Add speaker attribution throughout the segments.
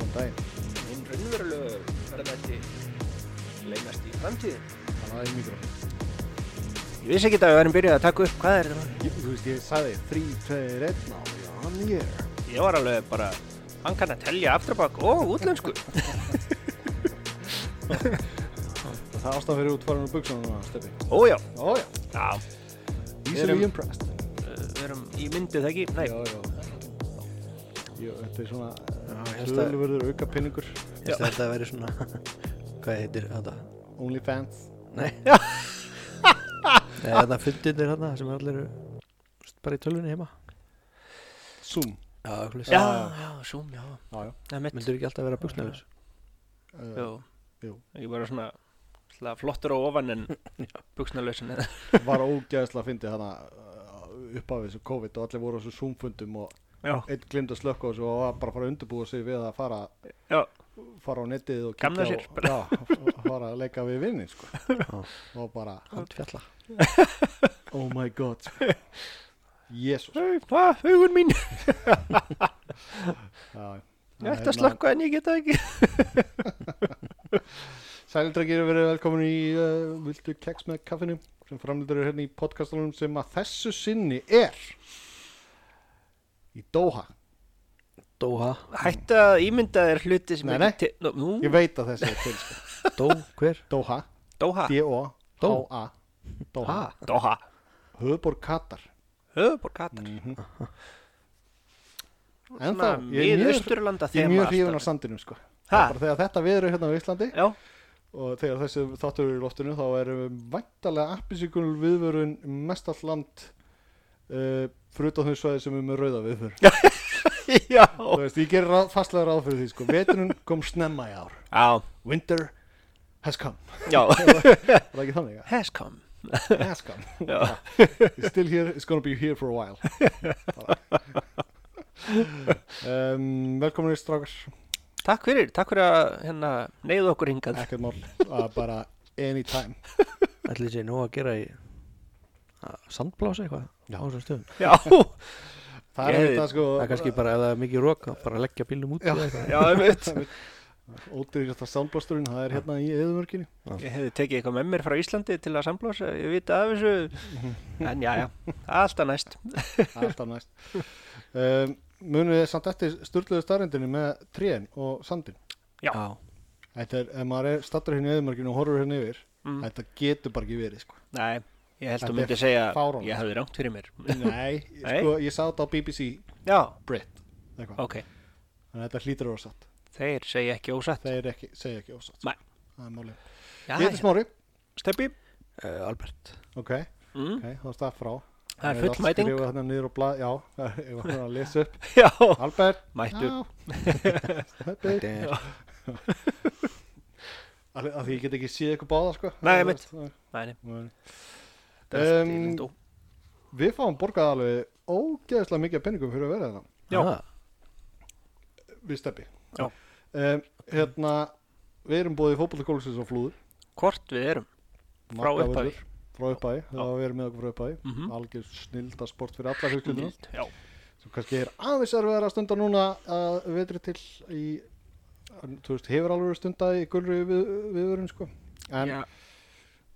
Speaker 1: um daginn
Speaker 2: Hinn raunverulegu ferðarmætti leynast í framtíðin.
Speaker 1: hann aðeins mikrofón
Speaker 2: Ég vissi ekki að við værum byrjuð að taka upp, hvað er þetta?
Speaker 1: Ég- þú veist ég sagði 3, 2, 1 now yeah, I'm here
Speaker 2: Ég var alveg bara, hann kann að telja afturbakk og útlensku.
Speaker 1: það er ástæðan fyrir útfarinu buksunum núna steppi
Speaker 2: Ójá,
Speaker 1: ója
Speaker 2: já,
Speaker 1: easily
Speaker 2: erum-
Speaker 1: impressed
Speaker 2: uh, við erum í myndið ekki, nei,
Speaker 1: um- já já Jú, þetta er svona
Speaker 3: Já, ég held að-
Speaker 1: stöðluverður auka pinningur
Speaker 3: Ég veist að þetta væri svona Hvað heitir þetta?
Speaker 1: Onlyfans
Speaker 3: Nei Nei, þetta fundirnir hérna sem allir eru þú veist, bara í tölvunni heima
Speaker 1: Zoom
Speaker 3: Já, okkur
Speaker 2: já, já, zoom, já,
Speaker 1: já já
Speaker 2: það er mitt,
Speaker 3: Myndur ekki alltaf vera buksnælis
Speaker 1: Eh,
Speaker 2: jú,
Speaker 1: Jú.
Speaker 2: ekki bara svona, svona flottur á ofan en buksnalösin eða,
Speaker 1: var ógæðslega fyndið þannig upp af þessu COVID og allir voru á þessu Zoom-fundum og
Speaker 2: já,
Speaker 1: einn glimt að slökka á þessu og var bara að fara að undirbúa sig við að fara
Speaker 2: já,
Speaker 1: fara á netið og
Speaker 2: Gamna
Speaker 1: kíkja
Speaker 2: sér,
Speaker 1: og já, fara að leika við vinnin sko. og bara
Speaker 3: Handfjalla
Speaker 1: oh my god sko. jésus
Speaker 2: Hey, hvað, hugun mín, ég ætti að
Speaker 1: Sælir
Speaker 2: slökka en ég geta ekki,
Speaker 1: drengir verið velkomin í uh, Vildu keks með kaffinu sem framlýtur hérna í podcastunum sem að þessu sinni er í Doha
Speaker 3: Dóha
Speaker 2: hætti að ímynda þér hluti sem
Speaker 1: Nei,
Speaker 2: ekki
Speaker 1: nei.
Speaker 2: til, nú,
Speaker 1: ég
Speaker 2: nú,
Speaker 1: veit að þessi er til sko.
Speaker 3: Dó, hver?
Speaker 1: Doha
Speaker 2: Doha,
Speaker 1: D-O-H-A Doha
Speaker 3: Ha?
Speaker 2: Doha,
Speaker 1: Höfuborg Katar
Speaker 2: höfubor Katar,
Speaker 1: En þá, ég
Speaker 2: mjög
Speaker 1: er mjög,
Speaker 2: austurlanda
Speaker 1: ég er
Speaker 2: þema,
Speaker 1: mjög hrifin á
Speaker 2: alltaf.
Speaker 1: sandinum sko
Speaker 2: Ha?
Speaker 1: Bara þegar þetta við erum hérna á Íslandi
Speaker 2: já,
Speaker 1: og þegar þessi þáttur eru í loftinu þá erum við væntalega appisíkunul viðvörun mest allt land uh, fyrir utan þau svæði sem er með rauða viðvörun
Speaker 2: já,
Speaker 1: Þú veist, ég gerir ráð, fastlega ráð fyrir því sko Veturinn kom snemma í ár
Speaker 2: já,
Speaker 1: Winter has come
Speaker 2: já,
Speaker 1: Er það ekki þannig? ja?
Speaker 2: has come,
Speaker 1: Has come
Speaker 2: já,
Speaker 1: It's still here, it's gonna be here for a while Bara. um, Velkominni strákar
Speaker 2: Takk fyrir, takk fyrir að hérna, neyðu okkur hingað.
Speaker 1: ekkert mál að bara anytime
Speaker 3: Ætli þessi nú að gera í að sandblása eitthvað
Speaker 1: Já.
Speaker 3: á þessum stöðum
Speaker 2: Já,
Speaker 1: það
Speaker 2: Ég-
Speaker 1: er þetta sko
Speaker 3: Það er kannski bara ef það er mikið rók bara leggja bílnum út
Speaker 1: Já.
Speaker 3: eða eitthvað.
Speaker 2: já, einmitt.
Speaker 1: ótrýrjast að soundblasturinn það er hérna í eðumörkinni
Speaker 2: Ég hefði tekið eitthvað með mér frá Íslandi til að samblósa, ég vita af þessu. En já, já, alltaf næst.
Speaker 1: alltaf næst um, munið þið samt eftir sturluðu starrendinni með trén og sandin
Speaker 2: Já.
Speaker 3: Já.
Speaker 1: þetta er, ef maður er stattur hérna í eðumörkinni og horfur hérna yfir
Speaker 2: Mm.
Speaker 1: þetta getur bara ekki verið sko
Speaker 2: Nei, ég held
Speaker 1: Þetta
Speaker 2: að
Speaker 1: er
Speaker 2: myndi segja
Speaker 1: fáránlegt.
Speaker 2: ég hefði rangt fyrir mér.
Speaker 1: nei,
Speaker 2: Nei.
Speaker 1: sko ég sá þetta á BBC
Speaker 2: Já,
Speaker 1: Brit eitthvað,
Speaker 2: ok,
Speaker 1: þannig að þetta hlýtur að vera satt
Speaker 2: þeir segja ekki ósatt.
Speaker 1: þeir ekki, segja ekki ósatt sko.
Speaker 2: Nei.
Speaker 1: það er málið
Speaker 2: Já,
Speaker 1: ég heiti
Speaker 2: já,
Speaker 1: Smári,
Speaker 2: steppi.
Speaker 3: Eh, Albert
Speaker 1: ok
Speaker 2: Mm.
Speaker 1: Ok, þá er það frá.
Speaker 2: Það er
Speaker 1: Ég hef allt
Speaker 2: fullmæting.
Speaker 1: skrifað þarna hérna niður á blað, já, ég var að lesa upp.
Speaker 2: Já,
Speaker 1: Albert.
Speaker 2: mættu.
Speaker 1: Já. Steppi. Af af því ég get ekki séð ykkur báða, sko.
Speaker 2: Nei, einmitt. Mæni,
Speaker 1: mitt.
Speaker 2: það er um,
Speaker 1: Em, Við fáum borgað alveg ógeðslega mikið af penningum fyrir að vera hérna. þetta.
Speaker 2: Já.
Speaker 3: Ah,
Speaker 1: Við Steppi.
Speaker 2: Já.
Speaker 1: Um, hérna, við erum búið í fótbollakólusins og flúður.
Speaker 2: Hvort við erum. Frá
Speaker 1: Markavörður.
Speaker 2: upphafi.
Speaker 1: Frá upphafi, það var að vera með okkur frá upphafi. Mm
Speaker 2: Mhm.
Speaker 1: Algjör snilda sport fyrir alla fjölskylduna.
Speaker 2: Mild, Já,
Speaker 1: sem kannski er aðeins erfiðar að stunda núna að vetri til í þú veist, hefur alveg verið stundað í gulru við, viðvörun sko en
Speaker 2: já,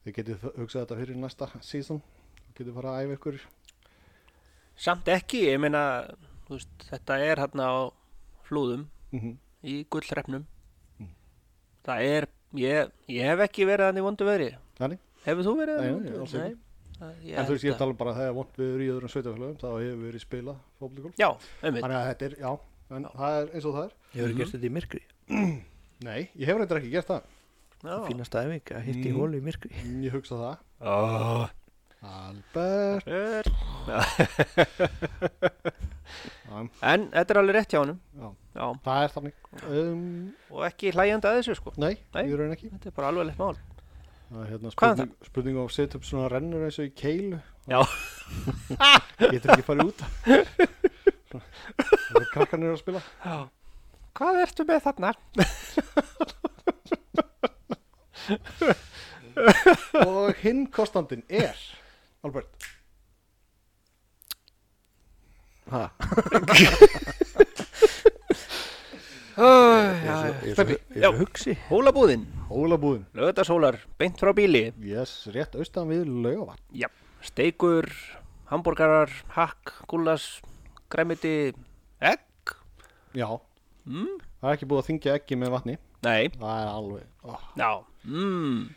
Speaker 1: þið getið hugsað þetta fyrir næsta season þið getið fara að æfa ykkur
Speaker 2: samt ekki, ég meina, þú veist, þetta er hérna á flúðum.
Speaker 1: Mhm.
Speaker 2: í gullrefnum
Speaker 1: Mm.
Speaker 2: það er ég, ég hef ekki verið þannig vondu veðri
Speaker 1: Þannig,
Speaker 2: hefur þú verið
Speaker 1: Nei,
Speaker 2: þannig í
Speaker 1: nei,
Speaker 2: vondu
Speaker 1: alls
Speaker 2: veðri?
Speaker 1: ekki.
Speaker 2: Það-
Speaker 1: en þú veist ég
Speaker 2: held að-
Speaker 1: tala bara að það er vond viður í öðrum sveitafélagum þá hefur verið spilað fótbolgól
Speaker 2: já, einmitt,
Speaker 1: þannig að þetta er, já, en það er eins og það er
Speaker 3: Ég hefur gert þetta í myrkri
Speaker 1: nei, ég hefur reyndar ekki gert það
Speaker 2: já
Speaker 3: Fínasta æfing að hitti í
Speaker 1: Mm.
Speaker 3: hólu í myrkri
Speaker 1: Mm, ég hugsa það
Speaker 2: Ó,
Speaker 1: Albert
Speaker 2: er-
Speaker 1: já,
Speaker 2: en þetta er alveg rétt hjá honum
Speaker 1: já,
Speaker 2: já,
Speaker 1: það er þannig um,
Speaker 2: og ekki hlægjandi að þessu sko
Speaker 1: nei,
Speaker 2: Nei.
Speaker 1: ég raun ekki
Speaker 2: þetta er bara alveg leitt mál
Speaker 1: Það er hérna
Speaker 2: Hvað er
Speaker 1: spurning, spurning á að setja upp svona rennur eins og í keilu
Speaker 2: Já.
Speaker 1: Getur ekki farið út Það er krakkanir að spila
Speaker 2: já. hvað ertu með þarna?
Speaker 1: Og hinn kostandinn er Albert
Speaker 3: Ha,
Speaker 2: Æ, já,
Speaker 3: Ég er svo-
Speaker 1: Stebbi.
Speaker 3: ég er
Speaker 2: Já.
Speaker 3: svo hugsi
Speaker 2: Hólabúðin,
Speaker 1: Hólabúðin,
Speaker 2: lögðarshólar, beint frá bíli,
Speaker 1: yes, rétt austan við laugavann
Speaker 2: já, steikur, hambúrgarar, hakk, gúlas, græmiti, egg?
Speaker 1: Já,
Speaker 2: Mm?
Speaker 1: það er ekki búið að þingja ekki með vatni
Speaker 2: Nei,
Speaker 1: Það er alveg oh.
Speaker 2: já, mm.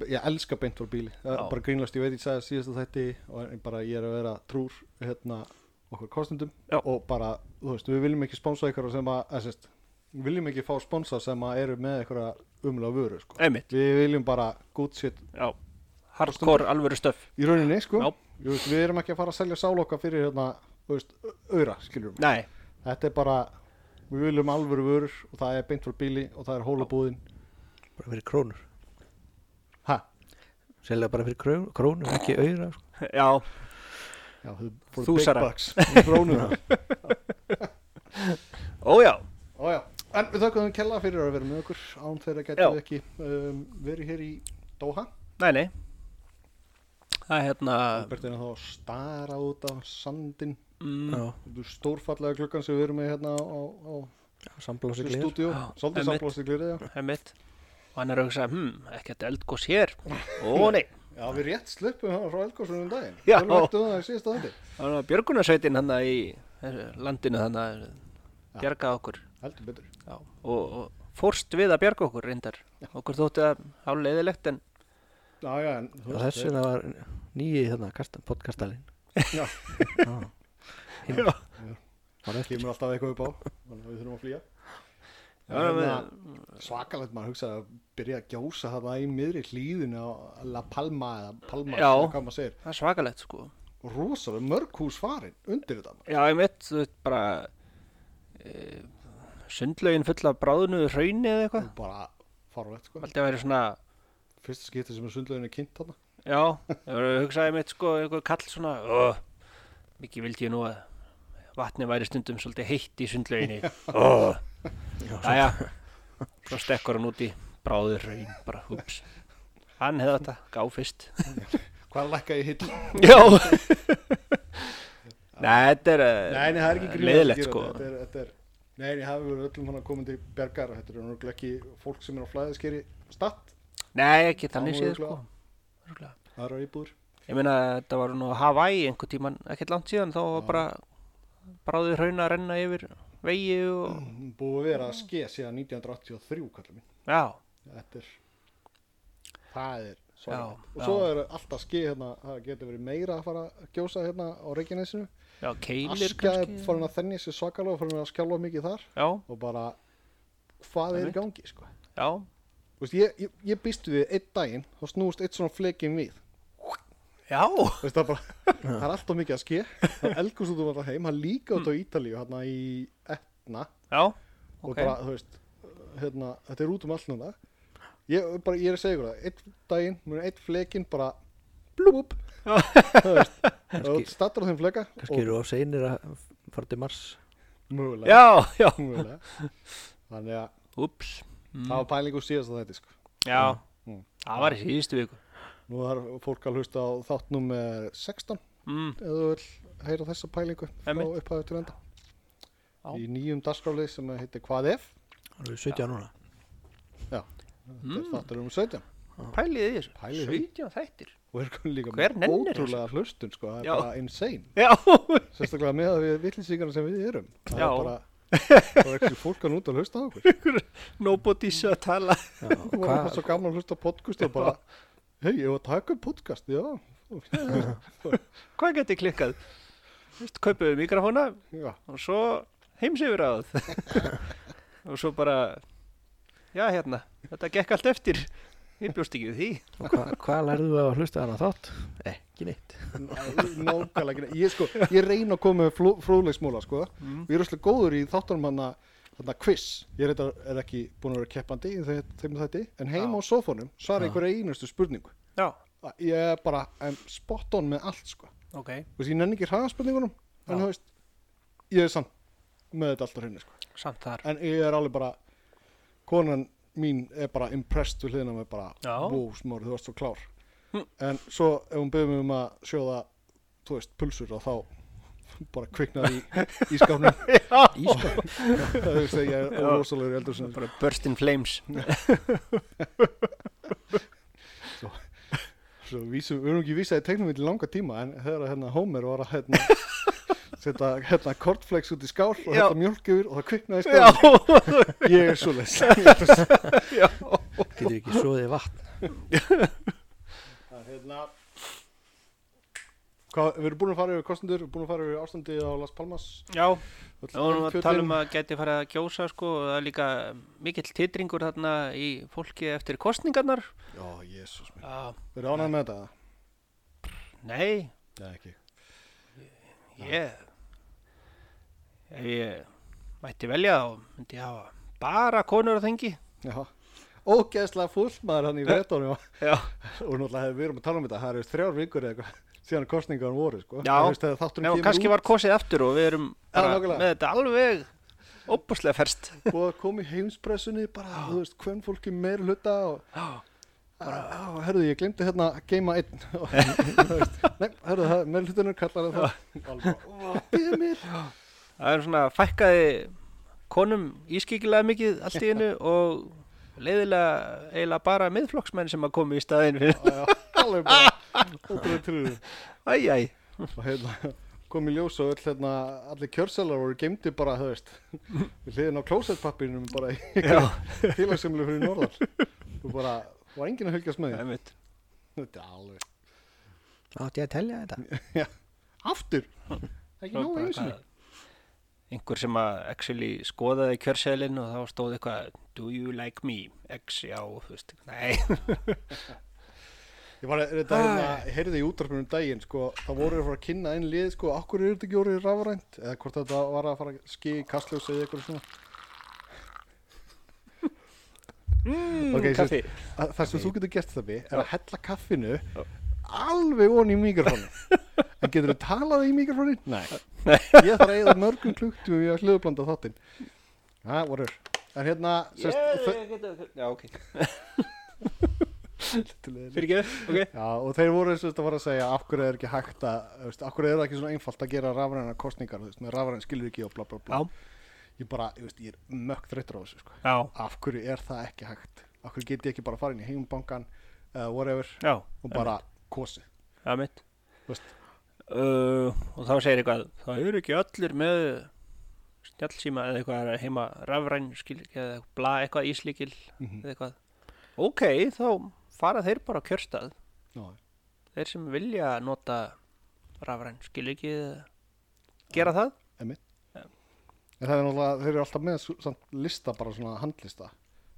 Speaker 1: Ég elska beint frá bíli Það er
Speaker 2: Já.
Speaker 1: bara grínlast, ég veit ég sagði síðast að þetta og en bara ég er að vera trúr hérna, okkur kostendum
Speaker 2: Já.
Speaker 1: og bara, þú veist, við viljum ekki sponsa ykkur sem að, eða sérst, við viljum ekki fá sponsa sem að eru með ykkur umlega vöru sko.
Speaker 2: einmitt,
Speaker 1: Við viljum bara good shit
Speaker 2: já, hardcore alvöru stöf,
Speaker 1: í rauninni, sko
Speaker 2: Já.
Speaker 1: Ég veist, Við erum ekki að fara að selja sáloka fyrir hérna, þú veist, auðra, skiljum
Speaker 2: nei,
Speaker 1: Þetta er bara, við viljum alvöru vörur og það er beint frá bíli og það er hólabúðin
Speaker 3: Bara fyrir krónur
Speaker 1: Hæ?
Speaker 3: Selja bara fyrir krón- krónur, ekki auðra sko.
Speaker 2: já,
Speaker 1: Já, þau fóru
Speaker 2: Þú,
Speaker 1: big
Speaker 2: Sara.
Speaker 1: bucks í krónuna.
Speaker 2: ójá,
Speaker 1: Ó, já. En við þökkum þeim kella fyrir að vera með okkur án þeirra
Speaker 2: Já.
Speaker 1: getum við ekki um, verið hér í Doha
Speaker 2: nei, nei, það er hérna,
Speaker 1: Albert er þá að stara út á sandin
Speaker 2: mm,
Speaker 3: Já,
Speaker 1: Þú stórfallega klukkan sem við erum með hérna á, á, á
Speaker 3: samblási glir
Speaker 1: stúdíu
Speaker 2: Já,
Speaker 1: Svolítið
Speaker 2: einmitt.
Speaker 1: samblóðst í glirið, já
Speaker 2: einmitt, og hann er að hugsa, hm, ekkert eldgós hér, ó nei,
Speaker 1: Já, við rétt sluppum hann frá Elgósunum um daginn
Speaker 2: Já.
Speaker 1: Tölum ekki um það í síðasta þetta
Speaker 2: það var björgunarsveitin hann í þessu landinu þannig að bjarga okkur,
Speaker 1: Heldur betur
Speaker 2: já, og, og fórst við að bjarga okkur reyndar, okkur þótti það háleiðilegt en,
Speaker 1: Já, já, en þú
Speaker 3: Og
Speaker 1: veist,
Speaker 3: þess vegna var nýið þarna podcastalinn
Speaker 1: Já.
Speaker 2: já,
Speaker 3: Var
Speaker 1: það
Speaker 3: eftir
Speaker 1: kemur alltaf eitthvað upp á Þannig að við þurfum að flýja hérna,
Speaker 2: já, með,
Speaker 1: svakalegt maður hugsaði að byrja að gjósa það í miðri hlýðinu á La Palma eða Palma,
Speaker 2: Já.
Speaker 1: eða hvað maður segir
Speaker 2: það er svakalegt sko,
Speaker 1: og rosalega mörg hús farin undir þetta
Speaker 2: Já, ég mitt, þú veit bara e, sundlaugin full af bráðnuðu hrauni eða eitthvað.
Speaker 1: og bara farulegt sko
Speaker 2: Aldrei að vera svona,
Speaker 1: fyrsta skipti sem er sundleginu kynnt þarna
Speaker 2: já, ég var að hugsa ég mitt sko, einhver kall svona, oh, mikið vildi ég nú að vatni væri stundum svolítið heitt í sundlauginni. oh. Jæja, svo stekkur hann út í bráðu hraun, bara hups. Hann hefði þetta, gá fyrst.
Speaker 1: hvað lækka ég hitt?
Speaker 2: já. Nei, þetta er, eh,
Speaker 1: nei, nei, það er ekki grín
Speaker 2: leiðilegt sko.
Speaker 1: þetta er, þetta er nei, nei, það hefur verið öllum hann komin til bjargar þetta er náttúrulega ekki fólk sem er á flæðiskeri statt,
Speaker 2: Nei, ekki þannig
Speaker 1: Það má
Speaker 2: séð sko. Rúglega.
Speaker 1: það eru íbúður
Speaker 2: Ég meina þetta var nú Hawaii einhvern tíman, ekkert langt síðan, þá var bara bráðið hraun að renna yfir vegi og
Speaker 1: Mm. búið að vera að skeið síðan 1983 kallum minn
Speaker 2: já,
Speaker 1: þetta er það er
Speaker 2: Já,
Speaker 1: svakalegt og
Speaker 2: já.
Speaker 1: svo er alltaf skið hérna það getur verið meira að fara að gjósa hérna á Reykjanesinu
Speaker 2: já, keilir
Speaker 1: Aska er
Speaker 2: kannski.
Speaker 1: farin að þennja sér svakalega og farin að skjálfa mikið þar
Speaker 2: Já,
Speaker 1: og bara hvað er í
Speaker 2: Einmitt.
Speaker 1: gangi sko
Speaker 2: já,
Speaker 1: Þú Veist, ég, ég, ég býst við einn daginn þá snúist eitt svona flekin við
Speaker 2: já,
Speaker 1: Þú Veist, það, bara, það er alltaf mikið að ske það elgur svo þú var það um heim, hann líka út á Ítalíu hérna í Etna
Speaker 2: já,
Speaker 1: og
Speaker 2: ok,
Speaker 1: bara, þú veist hérna, þetta er út um allt núna ég, bara, ég er að segja ykkur það, einn daginn mun einn flekin bara blúb
Speaker 2: Já.
Speaker 1: þú veist, þú
Speaker 3: Kannski-
Speaker 1: stattar á þeim fleka
Speaker 3: Kannski eru of seinir að fara til Mars
Speaker 1: og mögulega,
Speaker 2: já, já,
Speaker 1: mögulega. þannig að
Speaker 2: ups,
Speaker 1: það var pælingu síðast að þetta sko
Speaker 2: já,
Speaker 1: Mm.
Speaker 2: það var í síðustu viku.
Speaker 1: Nú þarf fólk að hlusta á þáttnum 16
Speaker 2: Mm,
Speaker 1: ef þú vil heyra þessa pælingu frá
Speaker 2: Einmitt.
Speaker 1: upphæðu til enda
Speaker 2: Já.
Speaker 1: í nýjum dagskráli sem heitir Hvað ef
Speaker 3: Það eru 17 núna
Speaker 1: þetta
Speaker 2: Mm.
Speaker 1: er þáttur um 17
Speaker 2: pælið í þessu,
Speaker 1: Pælið í því.
Speaker 2: 17 þættir.
Speaker 1: og er komin líka
Speaker 2: Hver
Speaker 1: með
Speaker 2: nennir
Speaker 1: ótrúlega hlustun sko, það er
Speaker 2: Já.
Speaker 1: bara insane
Speaker 2: Já,
Speaker 1: sérstaklega með að við vitlinsíkarna sem við erum það
Speaker 2: Já.
Speaker 1: er bara það er ekki fólk að núta að hlusta á okkur
Speaker 2: nobody's að tala.
Speaker 1: það var bara svo gaman að hlusta á podcast og bara hei, ég var að taka upp podcast já,
Speaker 2: Hvað geti klikkað? Vist, kaupuðu mikrofóna
Speaker 1: já,
Speaker 2: og svo heimsifur á það og svo bara já hérna, þetta gekk allt eftir ég bjóst ekki við því
Speaker 3: Og hva, hvað lærðu þú að hlusta þarna þátt? Ekki neitt
Speaker 1: nákvæmlega ekki. ég sko, ég reyna að koma með fló- fróðleiksmóla sko, og ég er rosalega góður í þáttunum hann að quiz ég er, eitthvað, er ekki búin að vera keppandi í þeim, þeim þætti, en heima á sófónum svara einhverja einustu spurningu
Speaker 2: já,
Speaker 1: ég er bara um, spot on með allt sko,
Speaker 2: ok
Speaker 1: Þú veist, ég nenni ekki hraða spurningunum en þú veist, ég er samt með þetta alltaf hreinu sko,
Speaker 2: samt þar,
Speaker 1: en ég er alveg bara konan mín er bara impressed við hliðina með bara,
Speaker 2: Já.
Speaker 1: wow, smári, þú varst svo klár
Speaker 2: Hm.
Speaker 1: en svo ef hún byrði mig um að sjóða þú veist, pulsur og þá bara kviknaði í, í skáfnum
Speaker 3: Ískap
Speaker 1: það er segja órósalegur eldur sem
Speaker 2: bara burst in flames
Speaker 1: svo vísum, við erum ekki vísað í teiknum í langa tíma en þegar að, hérna Homer var að hérna, setja hérna kortflex út í skál og
Speaker 2: Já.
Speaker 1: hérna mjölk yfir og það kviknaði í skál ég er svo les hérna,
Speaker 3: Getur ekki svoðið vatn
Speaker 2: hérna-
Speaker 1: hvað, við erum búin að fara yfir kostendur, búin að fara yfir ástandið á Las Palmas
Speaker 2: já,
Speaker 1: öll
Speaker 2: þá erum við að
Speaker 1: kjötin.
Speaker 2: tala um að geti farið að kjósa sko og það er líka mikill titringur þarna í fólki eftir kostningarnar
Speaker 1: já, jésus minn,
Speaker 2: já,
Speaker 1: við erum ánægð með þetta
Speaker 2: nei,
Speaker 1: Nei, ekki
Speaker 2: ég ef ég mætti velja þá myndi ég hafa bara konur að þengi
Speaker 1: Já, ógeðslega fúllmaður hann í vetónu og
Speaker 2: já,
Speaker 1: og náttúrulega hefur við erum að tala um þetta, það eru þrjár vikur eða eitthvað síðan kostningan voru sko.
Speaker 2: Já.
Speaker 1: Það, veist, þegar þátturinn
Speaker 2: já
Speaker 1: kemur
Speaker 2: kannski
Speaker 1: út
Speaker 2: var kosið aftur og við erum
Speaker 1: Já,
Speaker 2: bara
Speaker 1: nákvæmlega.
Speaker 2: með þetta alveg opaslega ferst
Speaker 1: og að koma í heimspressunni bara, þú veist, hvern fólki meir hluta og
Speaker 2: já,
Speaker 1: bara, á, herðu, ég glemdi hérna að geima einn og þú veist, nei, herðu, það- meir hlutunum kallar það þá alveg, ó, býðu mér
Speaker 2: það er svona fækkaði konum ískikilega mikið allt í einu og leiðilega eiginlega bara miðflokksmenn sem að komi í staðin fyrir
Speaker 1: Já, já, alveg bara, ótrúið trúið
Speaker 2: æj, æj
Speaker 1: og hérna kom í ljós og öll hérna allir kjörselar voru geimdi bara, þú veist við hliðin á klósettpappinum bara í félagsumlu fyrir norðar og bara, var enginn að hölgjast með því
Speaker 2: Einmitt.
Speaker 1: þetta er alveg,
Speaker 3: Átti ég að telja þetta
Speaker 1: aftur ekki nógu einu sinni
Speaker 2: einhver sem að actually skoðaði kjörseðlinn og þá stóð eitthvað do you like me, x, já þú veist, nei,
Speaker 1: ég var að, þetta hérna, ég heyrði í útarpinu um daginn, sko, það voru að fara að kynna einn lið, sko, okkur er þetta ekki orðið rafrænt eða hvort þetta var að fara að ski í kastljós eða eitthvað svona
Speaker 2: mm,
Speaker 1: Ok,
Speaker 2: kaffi
Speaker 1: að, það sem þú getur gert það við er að hella kaffinu alveg onni í mikrofónu en getur þú talað í mikrofónu? Nei ég þarf að eigða mörgum kluktum við að hlöðblanda þáttinn ha, voru en hérna sest, yeah,
Speaker 2: yeah, já, ok,
Speaker 1: yeah.
Speaker 2: fyrir ok
Speaker 1: Já, og þeir voru sest, að fara að segja af hverju er ekki hægt að þú veist, af hverju er það ekki svona einfalt að gera rafræna kostningar þú veist, með rafræn skilur ekki og bla bla bla
Speaker 2: já,
Speaker 1: ég bara, ég, veist, ég er mökk þreyttur á þessu sko.
Speaker 2: já,
Speaker 1: af hverju er það ekki hægt af hverju get ég ekki bara að fara inn í heimbankan uh, whatever
Speaker 2: já,
Speaker 1: og bara kosið
Speaker 2: já mitt
Speaker 1: Þú veist.
Speaker 2: uh, og þá segir eitthvað það eru ekki allir með snjallsíma eða eitthvað heima rafræn skil, eða bla eitthvað íslíkil eða eitthvað, ok, þá fara þeir bara á kjörstað
Speaker 1: Ná,
Speaker 2: þeir sem vilja nota rafræn skil ekki gera það
Speaker 1: En það er náttúrulega, þeir eru alltaf með svo- samt lista, bara svona handlista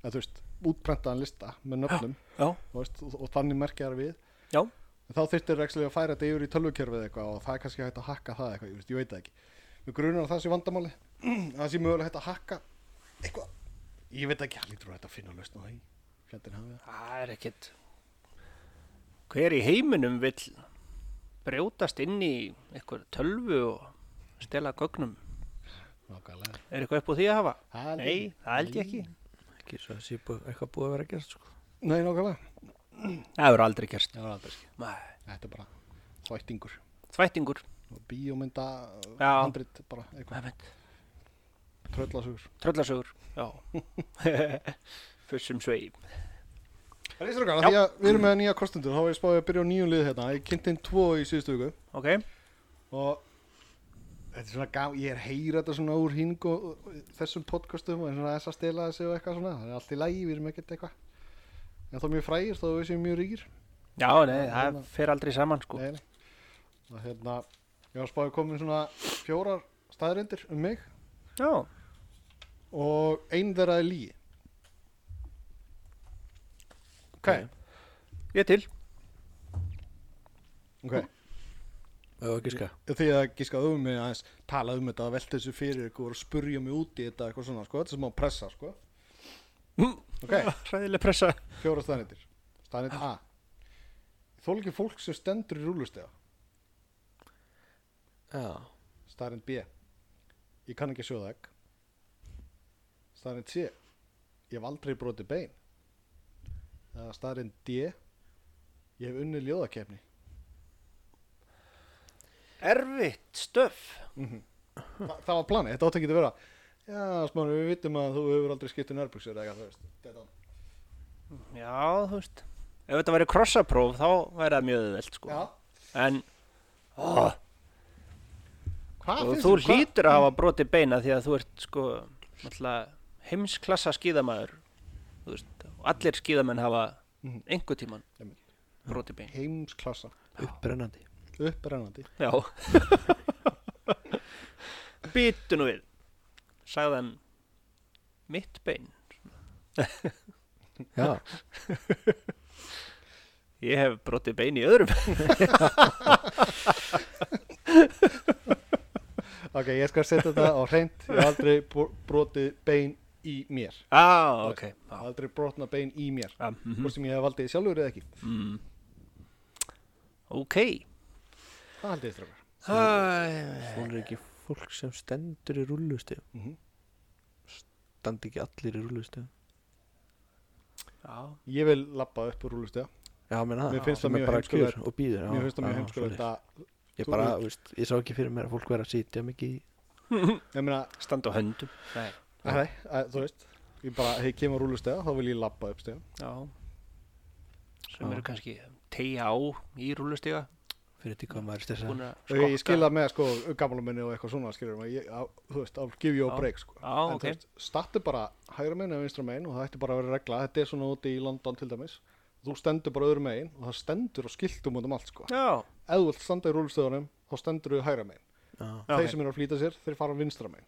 Speaker 1: eða þú veist, útprentaðan lista með nöfnum
Speaker 2: já,
Speaker 1: þú veist, og, og þannig merkja þær við
Speaker 2: já,
Speaker 1: en þá þyrftir rekslega að færa þetta yfir í tölvukerfið eitthvað og það er kannski hægt að hakka það eitthvað, ég, veist, ég veit það ekki Mér grunar að það sé vandamáli að það sé mögulega hægt að hakka eitthvað Ég veit ekki, hann lítur að þetta finna að lausna það í fjandinn hafið það.
Speaker 2: það er ekkit hver í heiminum vill brjótast inn í einhver tölvu og stela gögnum
Speaker 1: Nákvæmlega.
Speaker 2: er eitthvað upp á því að hafa?
Speaker 1: Það er-
Speaker 2: nei, það held ég ekki
Speaker 3: Ekki svo að sé búið, eitthvað búið að vera að gera sko.
Speaker 1: Nei, nákvæmlega.
Speaker 2: það eru aldrei gerst
Speaker 1: Já, það er ekki. Þetta er bara þvættingur
Speaker 2: þvættingur
Speaker 1: og bíómynda
Speaker 2: Já.
Speaker 1: handrit bara eitthvað, tröllasögur.
Speaker 2: tröllasögur já fussum svei
Speaker 1: Það er ísra okkar, af því að við erum með nýja kostendur, þá var ég spáði að byrja á nýjum lið hérna, ég kynnti inn tvo í síðustu viku
Speaker 2: ok,
Speaker 1: og þetta er svona gaf, ég er að heyra þetta svona úr hing og og þessum podcastum og svona þess að stela þessi og eitthvað svona, það er allt í lægi, við erum ekkert eitthvað, en þá mjög frægir, þá við séum mjög ríkir,
Speaker 2: já, nei, það fer aldrei saman sko
Speaker 1: nei, nei, og hérna, ég var spáði að koma inn svona fjórar staðrindir um mig
Speaker 2: já,
Speaker 1: og ein þeirra er lígi. Ok,
Speaker 2: ég til
Speaker 1: ok.
Speaker 3: Það var ekki ská
Speaker 1: því að gískað um mig aðeins tala um þetta að velta þessu fyrir ykkur og spurja mig út í þetta eitthvað svona sko, þetta er sem á pressa sko ok,
Speaker 2: Hm, hræðileg pressa
Speaker 1: fjóra staðnættir staðnætt
Speaker 2: Ah.
Speaker 1: A þól ekki fólk sem stendur í rúlustega
Speaker 3: Já
Speaker 1: staðnætt B ég kann ekki að sjóða egg staðnætt C ég hef aldrei brotið bein eða staðnætt D ég hef unnið ljóðakefni
Speaker 2: erfitt stöf
Speaker 1: Þa, það var planið, þetta átti ekki að vera já, smári, við vitum að þú hefur aldrei skipt um nærbuxur eða eitthvað, þú veist, dead on.
Speaker 2: Já, þú veist Ef þetta væri krossapróf þá væri það mjög auðvelt sko.
Speaker 1: já,
Speaker 2: En ó,
Speaker 1: hvað
Speaker 2: og
Speaker 1: finnst
Speaker 2: þú
Speaker 1: hvað-
Speaker 2: hlýtur að hafa brotið beina því að þú ert sko náttúrulega, heimsklassa skíðamaður Þú veist, og allir skíðamenn hafa
Speaker 1: Mhm.
Speaker 2: einhver tíman
Speaker 1: Einmitt.
Speaker 2: brotið bein
Speaker 1: heimsklassa,
Speaker 3: upprennandi
Speaker 1: upprennandi
Speaker 2: Já Býtu nú við sagði hann mitt bein
Speaker 3: Já,
Speaker 2: Ég hef brotið bein í öðrum
Speaker 1: ok, ég skal setja þetta á hreint ég hef aldrei bro- brotið bein í mér
Speaker 2: ah, ok
Speaker 1: Ég
Speaker 2: Já,
Speaker 1: hef aldrei brotna bein í mér
Speaker 2: ah, mhm.
Speaker 1: hvort sem ég hef valdið sjálfur eða ekki
Speaker 2: Mm. Ok
Speaker 1: það haldið þið strákar
Speaker 3: svona er ekki fólk sem stendur í rúllustu
Speaker 1: Mhm.
Speaker 3: Standi ekki allir í rúllustu
Speaker 2: Já,
Speaker 1: ég vil lappa upp úr rúlustega
Speaker 3: Já, menn það
Speaker 1: Mér finnst það
Speaker 3: Sem er
Speaker 1: mjög
Speaker 3: bara
Speaker 1: heimskulegt.
Speaker 3: kjur Og býður já,
Speaker 1: mér finnst það mjög
Speaker 3: já,
Speaker 1: heimskulegt
Speaker 3: svoleiðis.
Speaker 1: að
Speaker 3: Ég
Speaker 1: þú
Speaker 3: bara,
Speaker 1: veist.
Speaker 3: þú veist, ég sá ekki fyrir mér að fólk vera að sitja mikið í
Speaker 1: ég meina,
Speaker 2: standa á höndum Nei.
Speaker 1: að, að, þú veist ég bara, hei, kemur rúlustega, þá vil ég lappa upp stega
Speaker 2: Já sem
Speaker 3: Já.
Speaker 2: eru kannski tegja á í rúlustiga
Speaker 3: Fyrir til hvað maður er stessa
Speaker 2: búin að
Speaker 1: og ég
Speaker 2: skokka.
Speaker 1: skila með, sko, gamlumenni og eitthvað svona skiljum, ég, á, þú veist, I'll give you a
Speaker 2: Já.
Speaker 1: break sko.
Speaker 2: Já,
Speaker 1: en
Speaker 2: ok.
Speaker 1: þú veist, startu bara hægra megin eða vinstra megin og það ætti bara að vera regla þetta er svona úti í London til dæmis þú stendur bara öðru megin og það stendur og skiltum út um allt, sko
Speaker 2: Já,
Speaker 1: ef þú vilt standa í rúlustöðunum, þá stendur þú hægra megin
Speaker 3: Já,
Speaker 2: Já,
Speaker 1: þeir
Speaker 2: ok.
Speaker 1: sem eru að flýta sér, þeir fara vinstra megin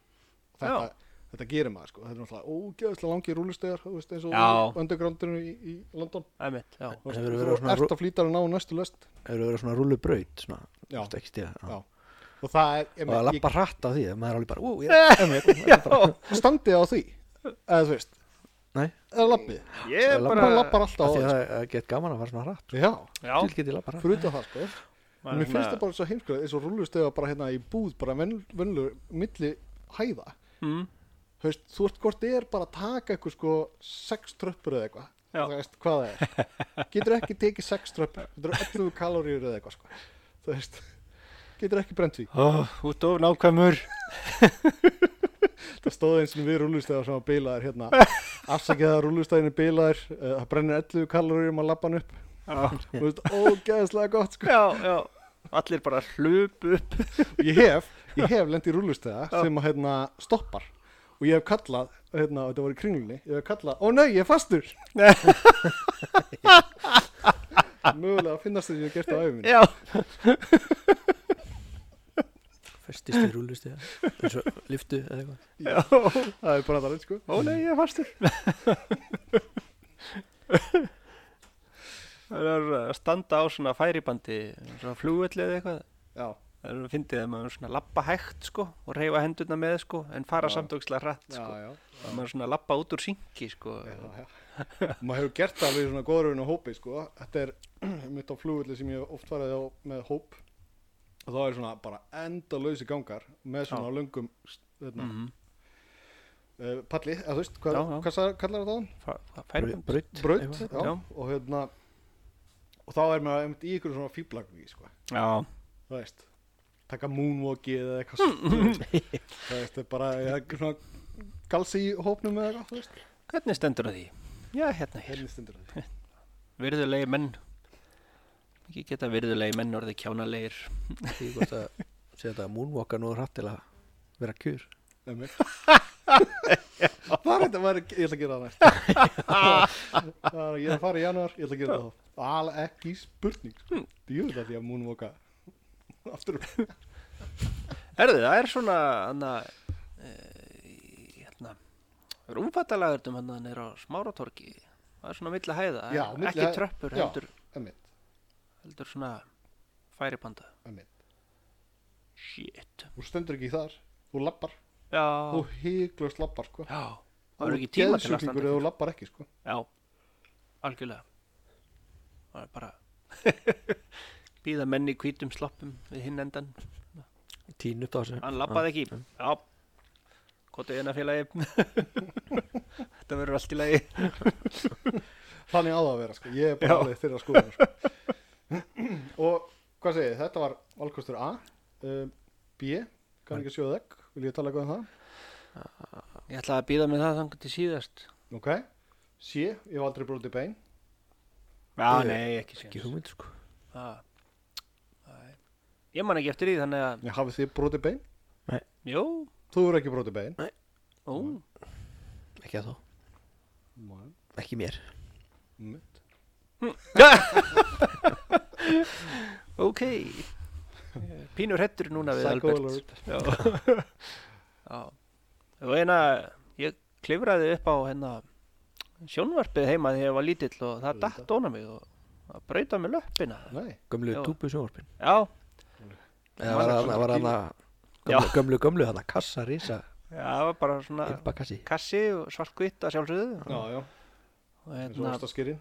Speaker 1: þetta, þetta gerir maður, sko þetta er náttúrulega ógeðslega langi rúlustöðar þú veist, eins og
Speaker 2: Já.
Speaker 1: í undergroundinu í, í London
Speaker 2: emitt, já
Speaker 1: Þú veist,
Speaker 3: Hefurðu verið á
Speaker 1: þú
Speaker 3: svona
Speaker 1: ert
Speaker 3: rú-
Speaker 1: að flýta að ná næstu löst
Speaker 3: hefur verið svona rúllubraut Svona,
Speaker 1: Já.
Speaker 3: þú veist, ekki stiga
Speaker 1: Já.
Speaker 3: já.
Speaker 1: og það er,
Speaker 3: Og að
Speaker 1: ég-
Speaker 3: lappa hratt á því Maður er alveg bara, ú, ég
Speaker 1: standið á því eða þú veist
Speaker 3: Nei.
Speaker 1: eða lappið
Speaker 2: Ég er
Speaker 3: Labba-
Speaker 1: bara
Speaker 2: bara
Speaker 1: lappar alltaf á
Speaker 3: Af því að
Speaker 1: því
Speaker 3: það er gett gaman að fara svona hratt
Speaker 1: já
Speaker 2: Já,
Speaker 3: Til get ég lappa hratt
Speaker 1: fyrir utan það sko en mér finnst það bara svo heimskulega eins og rúlustega bara hérna í búð bara vennlur milli hæða
Speaker 2: mm,
Speaker 1: Hefst, þú veist hvort þið er bara að taka eitthvað sko sex tröppur eða eitthvað
Speaker 2: Já.
Speaker 1: þú veist hvað það er getur ekki tekið sex tröppur getur 11 kaloríur eða eitthvað sko þú veist getur ekki brent því
Speaker 2: Ó, Út of nákvæmur
Speaker 1: það stóð eins og við rúlustega sem var bilaðir hérna afsakið að rúlusteginu bilaðir eh, það brennir 11 kaloríum að labban upp
Speaker 2: Já,
Speaker 1: Þú veist, ógeðslega gott sko.
Speaker 2: já, já Allir bara hlupu upp
Speaker 1: ég hef, ég hef lent í rúlustega
Speaker 2: Já.
Speaker 1: sem að hérna, stoppar og ég hef kallað, hérna, þetta var í kringlunni ég hef kallað, ó nei, ég er fastur
Speaker 2: Nei.
Speaker 1: mögulega að finnast þess að ég hef gert það á æfum minni
Speaker 2: Já,
Speaker 3: Festist í rúllustu En svo liftu eða eitthvað
Speaker 2: já
Speaker 1: það er bara það, sko
Speaker 2: Ó nei, ég er fastur Það er að standa á svona færibandi svona flugvelli eða eitthvað
Speaker 1: já,
Speaker 2: Það er að fyndið að maður svona lappa hægt sko og reyfa hendurna með sko en fara
Speaker 1: Já.
Speaker 2: samtókslega hratt
Speaker 1: já,
Speaker 2: sko
Speaker 1: já,
Speaker 2: að maður svona lappa út úr syngi sko
Speaker 1: já, já. maður hefur gert það alveg í svona góðröfun og hópi, sko þetta er mitt á flugulli sem ég hef oft farið á með hóp og þá er svona bara endalausi gangar með svona löngum hérna,
Speaker 2: mm -hmm.
Speaker 1: uh, palli, eða þú veist, hvað,
Speaker 2: Já, já.
Speaker 1: hvað sa- kallar það á hann?
Speaker 2: færibandi
Speaker 3: Braut
Speaker 1: braut,
Speaker 3: eitthvað.
Speaker 1: já,
Speaker 2: Já.
Speaker 1: og hérna og þá er maður einmitt í ykkur svona fíblagví sko,
Speaker 2: Já,
Speaker 1: það veist taka moonwalki eða eitthvað svona, þú veist. það veist, það er bara ja, svona, galsi í hópnum eða eitthvað, þú veist
Speaker 2: hvernig stendur á því? Já, hérna hér
Speaker 1: henni stundur það
Speaker 2: Virðulegi menn Ekki geta virðulegi menn orðið kjánalegir
Speaker 3: Því gott að segja þetta að moonwalka nú hratt til að vera kjur
Speaker 1: Emil. það er þetta var, ég ætla að gera það næst það er, ég er að fara í januar ég ætla að gera það þá alveg ekki spurning sko.
Speaker 2: Hmm.
Speaker 1: djúið það því að moonwalka aftur
Speaker 2: Herðu, það er svona hana, e, hérna rúmfattalagur um hann er á smáratorki það er svona milli hæða
Speaker 1: Já,
Speaker 2: en
Speaker 1: milli
Speaker 2: ekki
Speaker 1: hæ-
Speaker 2: tröppur,
Speaker 1: já.
Speaker 2: heldur,
Speaker 1: Emil,
Speaker 2: heldur svona færibanda
Speaker 1: Emil.
Speaker 2: Shit
Speaker 1: þú stendur ekki þar þú lappar,
Speaker 2: Já,
Speaker 1: þú hygglust lappar sko.
Speaker 2: já Það er ekki tíma til að
Speaker 1: geðsjúklingur
Speaker 2: standa hérna.
Speaker 1: ef þú lappar ekki sko.
Speaker 2: Já, algjörlega Það er bara býða menn í hvítum sloppum við hinn endan
Speaker 3: Tín upp á þessu
Speaker 2: Hann lappaði ekki Já Kottu eina félagi Þetta verður allt í lagi
Speaker 1: þannig á það að vera sko. ég er bara
Speaker 2: Já.
Speaker 1: alveg þeirra skoðan sko. og hvað segið, þetta var valkostur A um, B, kann ekki að sjóða egg vil ég tala eitthvað um það
Speaker 2: Ég ætlaði að býða með það þangar til síðast.
Speaker 1: ok, C, ég hef aldrei brotið bein
Speaker 2: Já,
Speaker 3: Ég-
Speaker 2: nei, ekki
Speaker 3: ekki
Speaker 2: síðast. Ah.
Speaker 3: hugmynd sko
Speaker 2: Ég man ekki eftir því, þannig að,
Speaker 1: ég hafið þið brotið bein,
Speaker 2: jú,
Speaker 1: þú eru ekki brotið bein
Speaker 2: ó,
Speaker 3: ekki að þá
Speaker 1: Nei.
Speaker 3: ekki mér
Speaker 1: Mm.
Speaker 2: ok. Ég er Pínur hættur núna við
Speaker 1: Psycho
Speaker 2: Albert. Já. Já. Og eina, ég klifraði upp á hérna sjónvarpið heima þegar ég var lítill og það
Speaker 1: Auðvitað.
Speaker 2: datt óna mig og það brauta mig löppina.
Speaker 1: Nei.
Speaker 3: gömlu
Speaker 2: Já.
Speaker 3: túpu sjónvarpin
Speaker 2: Já,
Speaker 3: eða var
Speaker 1: Já,
Speaker 3: hana, var hana
Speaker 2: Já.
Speaker 3: gömlu, gömlu, gömlu hana kassa, risa,
Speaker 2: já, það var bara svona
Speaker 3: ympakassi
Speaker 2: kassi og svartkvitt að sjálfsögðu.
Speaker 1: já, já,
Speaker 2: Og
Speaker 1: eins og
Speaker 2: hérna,
Speaker 1: ástaskýrin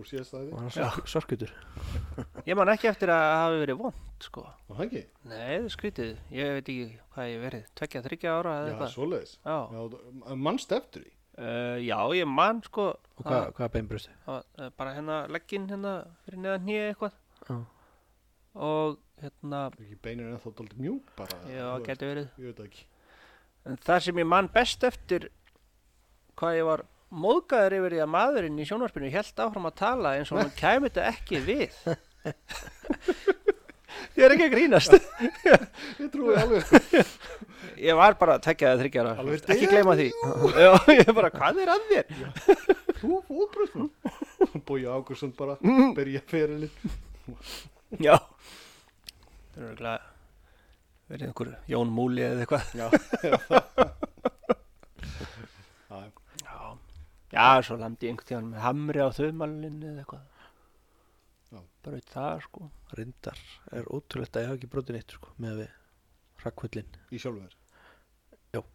Speaker 1: úr síðastæði,
Speaker 3: og hann sorkutur
Speaker 2: ég man ekki eftir að það hafi verið vond, sko.
Speaker 1: og það ekki
Speaker 2: Nei, það er skrítið. Ég veit ekki hvað ég hef verið. Tvekja, þryggja ára eða
Speaker 1: já,
Speaker 2: eitthvað.
Speaker 1: svoleiðis
Speaker 2: Já,
Speaker 1: Já, þú- mannst eftir því
Speaker 2: uh, já, ég man sko
Speaker 3: og hvað hva beinbrustu
Speaker 2: að, að bara hérna legginn hérna fyrir neðan hnið eitthvað
Speaker 3: Já.
Speaker 2: og hérna,
Speaker 1: Er ekki beinir en þá daldið mjúk bara
Speaker 2: já,
Speaker 1: þú veist,
Speaker 2: geti verið.
Speaker 1: ég veit það ekki
Speaker 2: En það sem ég man best eftir hvað ég var móðgæður yfir því að maðurinn í sjónvarpinu held áfram að tala eins og hann kæmi þetta ekki við. ég er ekki að grínast.
Speaker 1: ég trúi alveg sko.
Speaker 2: Ég var bara að tekja það þryggjara.
Speaker 1: Alveg
Speaker 2: Ekki gleyma því. Já, ég bara, hvað er að þér?
Speaker 1: þú fóðbröðsum Bói Ágursson bara
Speaker 2: Mm.
Speaker 1: byrja ferilinn
Speaker 2: Já Það eru glæð verið einhver Jón Múli eða eitthvað
Speaker 1: já, já, það. Já,
Speaker 2: Já, já svo landi ég einhvern tíðan með hamri á þauðmálinu eða eitthvað
Speaker 1: Já.
Speaker 2: Bara eitt það sko
Speaker 3: rindar er ótrúlegt að ég hafa ekki brotið neitt sko, með við rakkvöllin
Speaker 1: í sjálfum þér
Speaker 2: Já
Speaker 1: og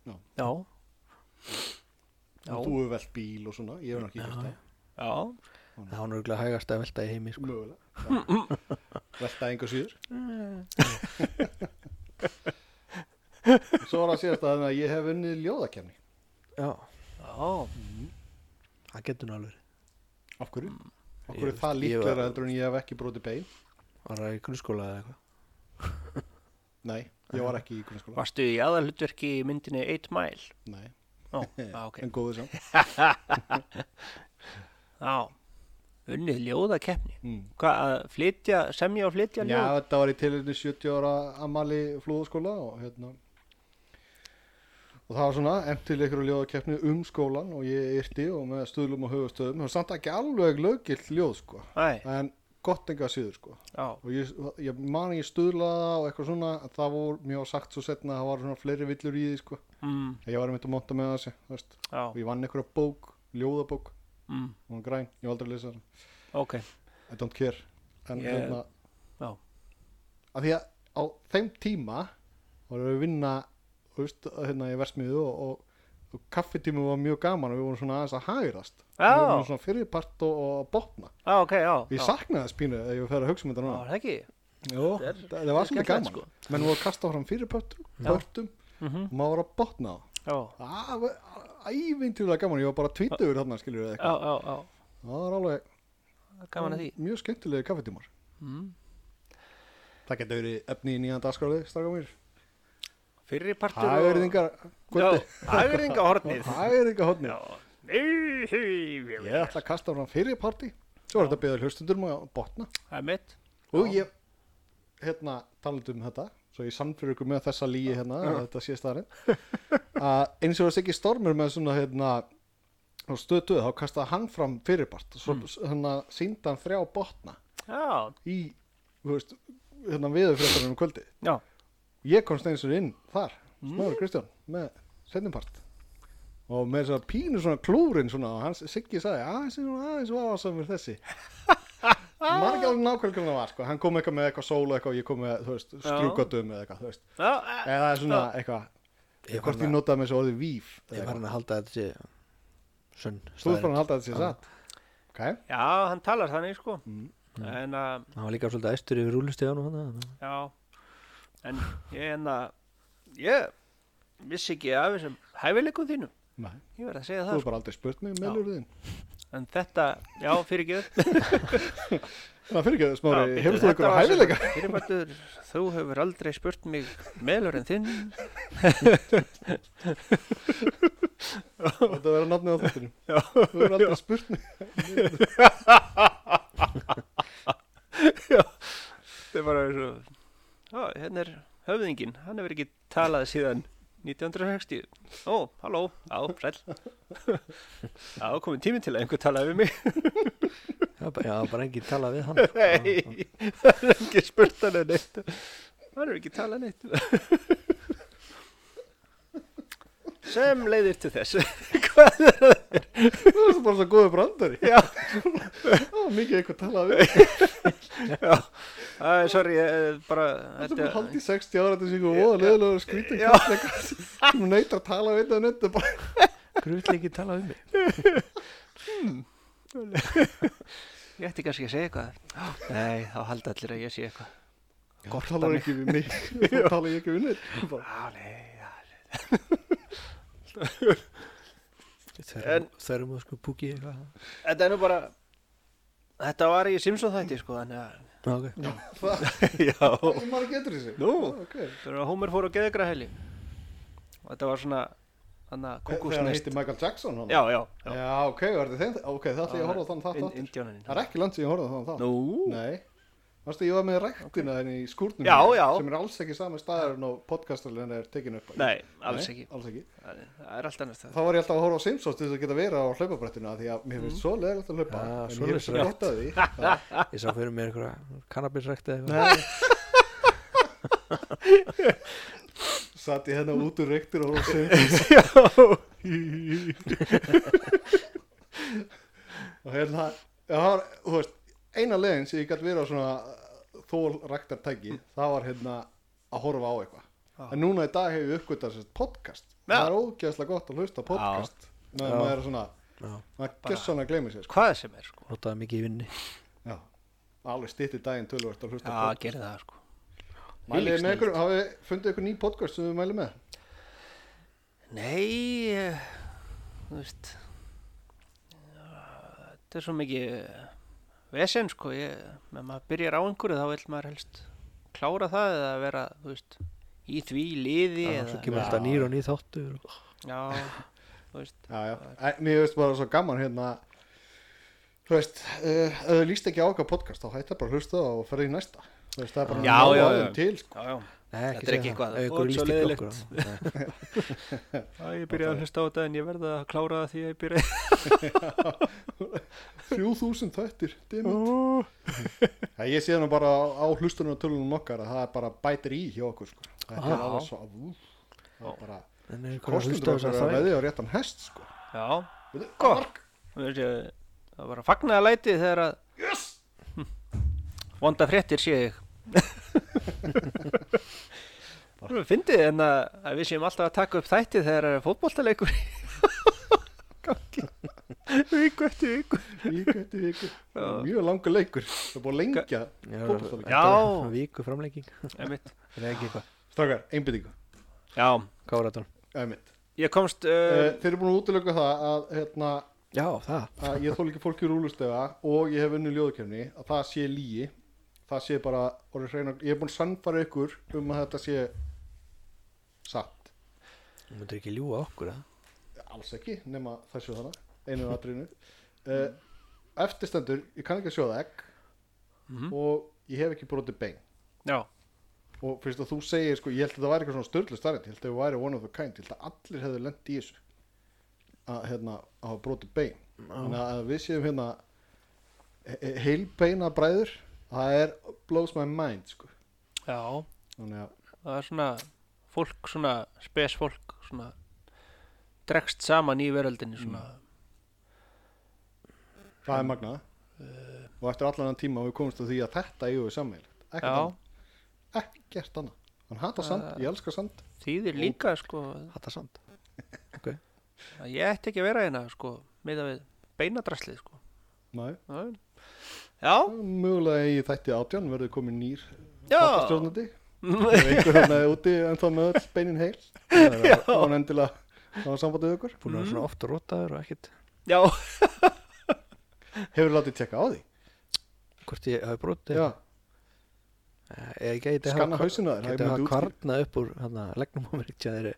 Speaker 2: Já,
Speaker 1: þú hefur velt bíl og svona ég hef ekki gert það
Speaker 2: já
Speaker 3: það var náttúrulega hægast að velta í heimi sko.
Speaker 1: mögulega já. velta enga síður svo var það síðast að ég hef unnið ljóðakefni
Speaker 3: já,
Speaker 2: Já,
Speaker 3: það getur nú alveg
Speaker 1: af hverju? af
Speaker 3: Ég
Speaker 1: hverju er það
Speaker 3: veist, ég var-
Speaker 1: líklega heldur en ég hef ekki brotið bein
Speaker 3: var það í grunnskóla eða eitthvað
Speaker 1: nei, ég var ekki í grunnskóla
Speaker 2: varstu í aðalhutverki í myndinni 8 Mile
Speaker 1: nei,
Speaker 2: Ó, já, Ah, ok
Speaker 1: en góðu samt
Speaker 2: Já, unnið ljóðakeppni
Speaker 1: mm.
Speaker 2: Hvað, að flytja, semja og flytja
Speaker 1: Já,
Speaker 2: ljóð?
Speaker 1: þetta var í tilhörni 70 ára amali flúðaskóla og hérna og það var svona emt til ykkur ljóðakeppni um skólan og ég yrti og með stuðlum og höfustöðum og samt ekki alveg lögilt ljóð sko
Speaker 2: Æ,
Speaker 1: en gott enga síður sko
Speaker 2: já,
Speaker 1: og ég, ég man ég stuðlaði það og eitthvað svona en það voru mjög sagt svo setna að það var svona fleiri villur í því sko
Speaker 2: mm,
Speaker 1: ég var einmitt að monta með þessi þú veist.
Speaker 2: já,
Speaker 1: og ég vann einhverja bók, ljóðabók
Speaker 2: mm,
Speaker 1: og hún græn, ég var aldrei að lesa það
Speaker 2: ok
Speaker 1: I don't care en
Speaker 2: Ég-
Speaker 1: hérna
Speaker 2: Já,
Speaker 1: af því að á þeim tíma vorum við að vinna þú veist, hérna í versmiðu og, og, og kaffitími var mjög gaman og við vorum svona aðeins að hagrast
Speaker 2: Já.
Speaker 1: við vorum svona fyrirpart og, og að botna
Speaker 2: já, ok, já
Speaker 1: ég
Speaker 2: já.
Speaker 1: saknaði þess pínu ef ég fer að hugsa um þetta
Speaker 2: Já,
Speaker 1: núna
Speaker 2: var það ekki?
Speaker 1: Jó,
Speaker 2: þetta er-
Speaker 1: það, það var svona
Speaker 2: skemmtilegt,
Speaker 1: gaman
Speaker 2: sko.
Speaker 1: menn voru að kasta fram fyrirpartum,
Speaker 2: Já.
Speaker 1: börtum
Speaker 2: Mm
Speaker 1: og maður var að botna
Speaker 2: já,
Speaker 1: það það var ævintjúlega gaman ég var bara að tvíta yfir þarna skiljur
Speaker 2: já,
Speaker 1: eitthvað
Speaker 2: já, já,
Speaker 1: það var alveg
Speaker 2: gaman að því
Speaker 1: mjög skemmtilegi kaffitímar
Speaker 2: mm.
Speaker 1: það getur verið efni í nýjan dagskráði stráka mér
Speaker 2: Fyrirpartur
Speaker 1: hagurðingar
Speaker 2: Já, hagurðinga hornið
Speaker 1: hagurðingahotni
Speaker 2: Já, Nei, hei,
Speaker 1: Ég ætla að kasta fram fyrir partí Svo er þetta að beða hlustundurum að botna
Speaker 2: Það er mitt
Speaker 1: Og ég, hérna, talandi um þetta Svo ég samfyrir ykkur með þessa líi hérna að Þetta sé staðarinn að Eins og þess ekki stormur með svona hérna Og stötuð, þá kastaði hann fram fyrirpart og Svo hérna síndi hann þrjá botna
Speaker 2: Já,
Speaker 1: Í, þú veist, hérna viðurfréttanum um kvöldi
Speaker 2: já,
Speaker 1: Ég komst eins og inn þar Smári Kristján, með setnimpart Og með þess að pínu svona klúrin svona og hans Siggi sagði aðeins er svona aðeins vafasamur þessi Margi alveg nákvæmlega hvernig það var sko. Hann kom eitthvað með eitthvað sól og eitthvað og ég kom með þú veist, strjúkatum eða eitthvað þú veist.
Speaker 2: já eh,
Speaker 1: Eða svona eitthvað
Speaker 3: Ég
Speaker 1: Hvort
Speaker 3: var
Speaker 1: ég
Speaker 3: hana-
Speaker 1: notaði með þessu orðið víf eða
Speaker 3: ég var
Speaker 1: eitthvað.
Speaker 3: hann að halda að þetta sé sönn
Speaker 1: Þú er bara
Speaker 3: staðreynd.
Speaker 1: að halda þetta sér satt Ok,
Speaker 2: Já, hann talar þannig sko En að,
Speaker 3: hann var líka svolítið æstur yfir rúlustegan og hann
Speaker 2: já En ég en að Ég vissi ekki af þessum hæfileikum þínum
Speaker 1: Nei,
Speaker 2: Ég verð að segja
Speaker 1: þú
Speaker 2: það sko-
Speaker 1: um er bara aldrei spurt mig með ljóruðin
Speaker 2: sko En þetta, já, fyrir
Speaker 1: Þannig að fyrir ekki að smári,
Speaker 2: Já,
Speaker 1: hefur
Speaker 2: þetta
Speaker 1: þú einhverja
Speaker 2: var sem-
Speaker 1: hæfileika?
Speaker 2: Fyrirbætur, þú hefur aldrei spurt mig meðlur en þinn
Speaker 1: Þetta verður nafnið á þettunum. Þú verður aldrei spurt mig.
Speaker 2: Það er bara svo Ó, hérna er höfðingin, hann hefur ekki talað síðan 1960 Ó, halló, á, sæll Á, komin tími til að einhver talaði við mig
Speaker 3: Já, bara- já, bara enginn talað við hann
Speaker 2: Nei, það er ekki spurt hann en neitt Hann hefur ekki talað neitt Sem leiðir til þess Hvað er það?
Speaker 1: Þú veist bara svo góðu brandari.
Speaker 2: Já,
Speaker 1: Það var mikið eitthvað talað við.
Speaker 2: já Æ, sorry, ég, eh, bara
Speaker 1: Þetta er bara haldið í 60 ára þetta sé eitthvað voða leðilega skrítið
Speaker 2: Já.
Speaker 1: kallið sem neytar að tala við þetta nöttu bara.
Speaker 3: Grútlega ekki talað um mig
Speaker 2: Ég ætti kannski að segja eitthvað Nei, þá halda allir að ég sé eitthvað
Speaker 1: Þú talar ekki við mig, þú talar ég ekki við neitt. Bara,
Speaker 2: Já, nei, já, En-
Speaker 3: Þörfum að sko púki eitthvað
Speaker 2: Þetta er nú bara Þetta var í Simpson þætti sko þannig að
Speaker 3: Já, ok
Speaker 1: Það,
Speaker 2: Já
Speaker 1: það maður getur þessi.
Speaker 2: Nú.
Speaker 1: Já, ok.
Speaker 2: Þegar Homer fór á geðegra heli og þetta var svona þannig að
Speaker 1: Þegar hann
Speaker 2: kúkúsnest
Speaker 1: heitti Michael Jackson hann.
Speaker 2: Já, já, já,
Speaker 1: Já, ok, var þetta þeim? Ok, það ætla ég að horfa á þann þátt
Speaker 2: In-
Speaker 1: aftur.
Speaker 2: Indiáninn.
Speaker 1: Það er ekki land sem ég horfa á þann þátt.
Speaker 2: Nú
Speaker 1: Nei, varstu ég var með ræktina henni í skúrnum
Speaker 2: Já,
Speaker 1: mínum,
Speaker 2: já.
Speaker 1: sem er alls ekki saman staðarinn og podcastarinn er tekin upp á.
Speaker 2: Nei, alls ekki
Speaker 1: alls ekki.
Speaker 2: Það er- það er allt annars það
Speaker 1: Þá var ég alltaf að horfa á Simpsons til þess að geta vera á hlaupabrettinu af því að mér finnst svo leðilegt að hlaupa
Speaker 3: Ja,
Speaker 1: en ég
Speaker 3: svoleiðis
Speaker 1: hef svo gott að því Já.
Speaker 3: Ég sá fyrir mér einhverja kannabisrækt eða eitthvað
Speaker 1: Nei. Satt ég hérna út úr reyktir og horfa á Simpsons
Speaker 2: Já
Speaker 1: og hérna, já, það var, þú veist eina leiðin sem ég gætt verið á svona þólræktartæki, það var hérna að horfa á eitthvað en núna í dag hefur við uppgötað sérst podcast
Speaker 2: Já.
Speaker 1: það er ógeðslega gott að hlusta á podcast meðan
Speaker 3: Já.
Speaker 1: maður er svona
Speaker 3: Já.
Speaker 1: maður gessan að gleyma sér sko.
Speaker 2: Hvað sem er sko
Speaker 3: Notaði mikið í vinni
Speaker 1: Já. alveg stýtti daginn tölvöld að hlusta á
Speaker 2: Já,
Speaker 1: podcast
Speaker 2: gerði það sko
Speaker 1: Mælið
Speaker 2: Þvílík
Speaker 1: með ykkur, hafið þið fundið ykkur ný podcast sem við mælið með?
Speaker 2: Nei, eh, þú veist, eh, þetta er svo mikið eh, vesen sko, ég, ef maður byrjar á einhverju þá vil maður helst klára það eða vera, þú veist, í því liði
Speaker 3: Já, Svo
Speaker 2: eða,
Speaker 3: kemur
Speaker 1: Já.
Speaker 3: alltaf nýr og nýr þáttur og-
Speaker 2: já, þú veist,
Speaker 1: Já, já, Æ, mér veist bara svo gaman hérna Þú veist, uh, ef þið líst ekki á okkar podcast þá hættir bara að hlusta og ferði í næsta Þú veist, það er bara
Speaker 2: Já,
Speaker 1: nóg
Speaker 2: já,
Speaker 1: af
Speaker 2: já.
Speaker 1: þeim til sko.
Speaker 2: já, já,
Speaker 3: Nei,
Speaker 2: Þetta er ekki
Speaker 3: segja
Speaker 2: eitthvað,
Speaker 3: það.
Speaker 2: og
Speaker 3: Ef
Speaker 2: svo
Speaker 3: ykkur líst ekki okkur
Speaker 2: leiðilegt.
Speaker 3: á- Nei.
Speaker 2: já, ég byrjaði að hlusta á þetta en ég verði að klára það því að ég byrjaði,
Speaker 1: 3000 þættir, dimmit Já, ég sé nú bara á hlustunum og tölunum okkar að það er bara bætir í hjá okkur sko. Þetta er
Speaker 2: Já.
Speaker 1: alveg svo úf, það er bara
Speaker 3: En er ykkur að
Speaker 1: kostundur
Speaker 3: hlusta á
Speaker 1: okkar
Speaker 3: þessar
Speaker 1: að
Speaker 3: þægir?
Speaker 1: veðja á réttan hest sko.
Speaker 2: já,
Speaker 1: Gott
Speaker 2: þú veist, ég, það var að fagna að læti þegar að,
Speaker 1: yes!
Speaker 2: vonda fréttir sé ég Þú finnir en að, að við séum alltaf að taka upp þætti þegar það er fótboltaleikur í gangi viku eftir viku
Speaker 1: Viku eftir viku
Speaker 2: Já.
Speaker 1: Mjög langur leikur Það er búið að lengja
Speaker 3: Já,
Speaker 1: fótboltaleik.
Speaker 3: þetta var
Speaker 2: Já.
Speaker 3: svona Viku framlenging
Speaker 2: Einmitt.
Speaker 3: Það er ekki eitthvað
Speaker 1: Strákar, einbyttingu
Speaker 2: Já,
Speaker 3: Káratón
Speaker 1: Einmitt
Speaker 2: ég komst uh,
Speaker 1: Eh, Þeir eru búin að útlöka það að, hérna,
Speaker 3: Já, það
Speaker 1: að ég þól ekki fólki úr úlustefa og ég hef unni ljóðkefni að það sé lígi það sé bara orðið hreinar ég er búin að sannfara ykkur um að þetta sé satt
Speaker 3: Þú myndir ekki ljúa okkur að
Speaker 1: alls ekki nema þessu þannig einu atriðinu uh, eftirstendur, ég kann ekki að sjóða egg og ég hef ekki brotið bein
Speaker 2: Já,
Speaker 1: og fyrst að þú segir sko, ég held að þetta væri eitthvað svona störlu starrið ég held að það væri one of the kind ég held að allir hefðu lent í þessu að hérna að hafa brotið bein þannig að við séum hérna he- he- heilbeina bræður það er blows my mind sko.
Speaker 2: já,
Speaker 1: þannig að
Speaker 2: það er svona fólk, svona spes fólk svona dregst saman í veröldinni svona
Speaker 1: það er magnað og eftir allan þann tíma við komumst að því að þetta eigum við sammeilegt ekkert
Speaker 2: Já,
Speaker 1: annað ekkert annað hann hatar sand, ég elska sand
Speaker 2: þýðir líka sko
Speaker 3: Hatta sand
Speaker 2: að ég ætti ekki að vera hérna sko með að við beinadraslið sko
Speaker 1: Nei.
Speaker 2: Já, já,
Speaker 1: mögulega í þætti átján verður komin nýr
Speaker 2: já.
Speaker 1: þáttastjórnandi ef einhver hann er úti en þá með öll beinin heil þá var hann endilega þá var sambandið ykkur
Speaker 3: Búin að vera svona oft rótaður og ekkit
Speaker 2: já,
Speaker 1: hefur látið tjekka á því
Speaker 3: hvort ég hafi brotið
Speaker 1: já,
Speaker 3: ég geti hafa-
Speaker 1: skanna hausina þér það
Speaker 3: geti hafa
Speaker 1: myndi útskýra.
Speaker 3: kvarnað upp úr hann að leggum á mér ekki að þeirri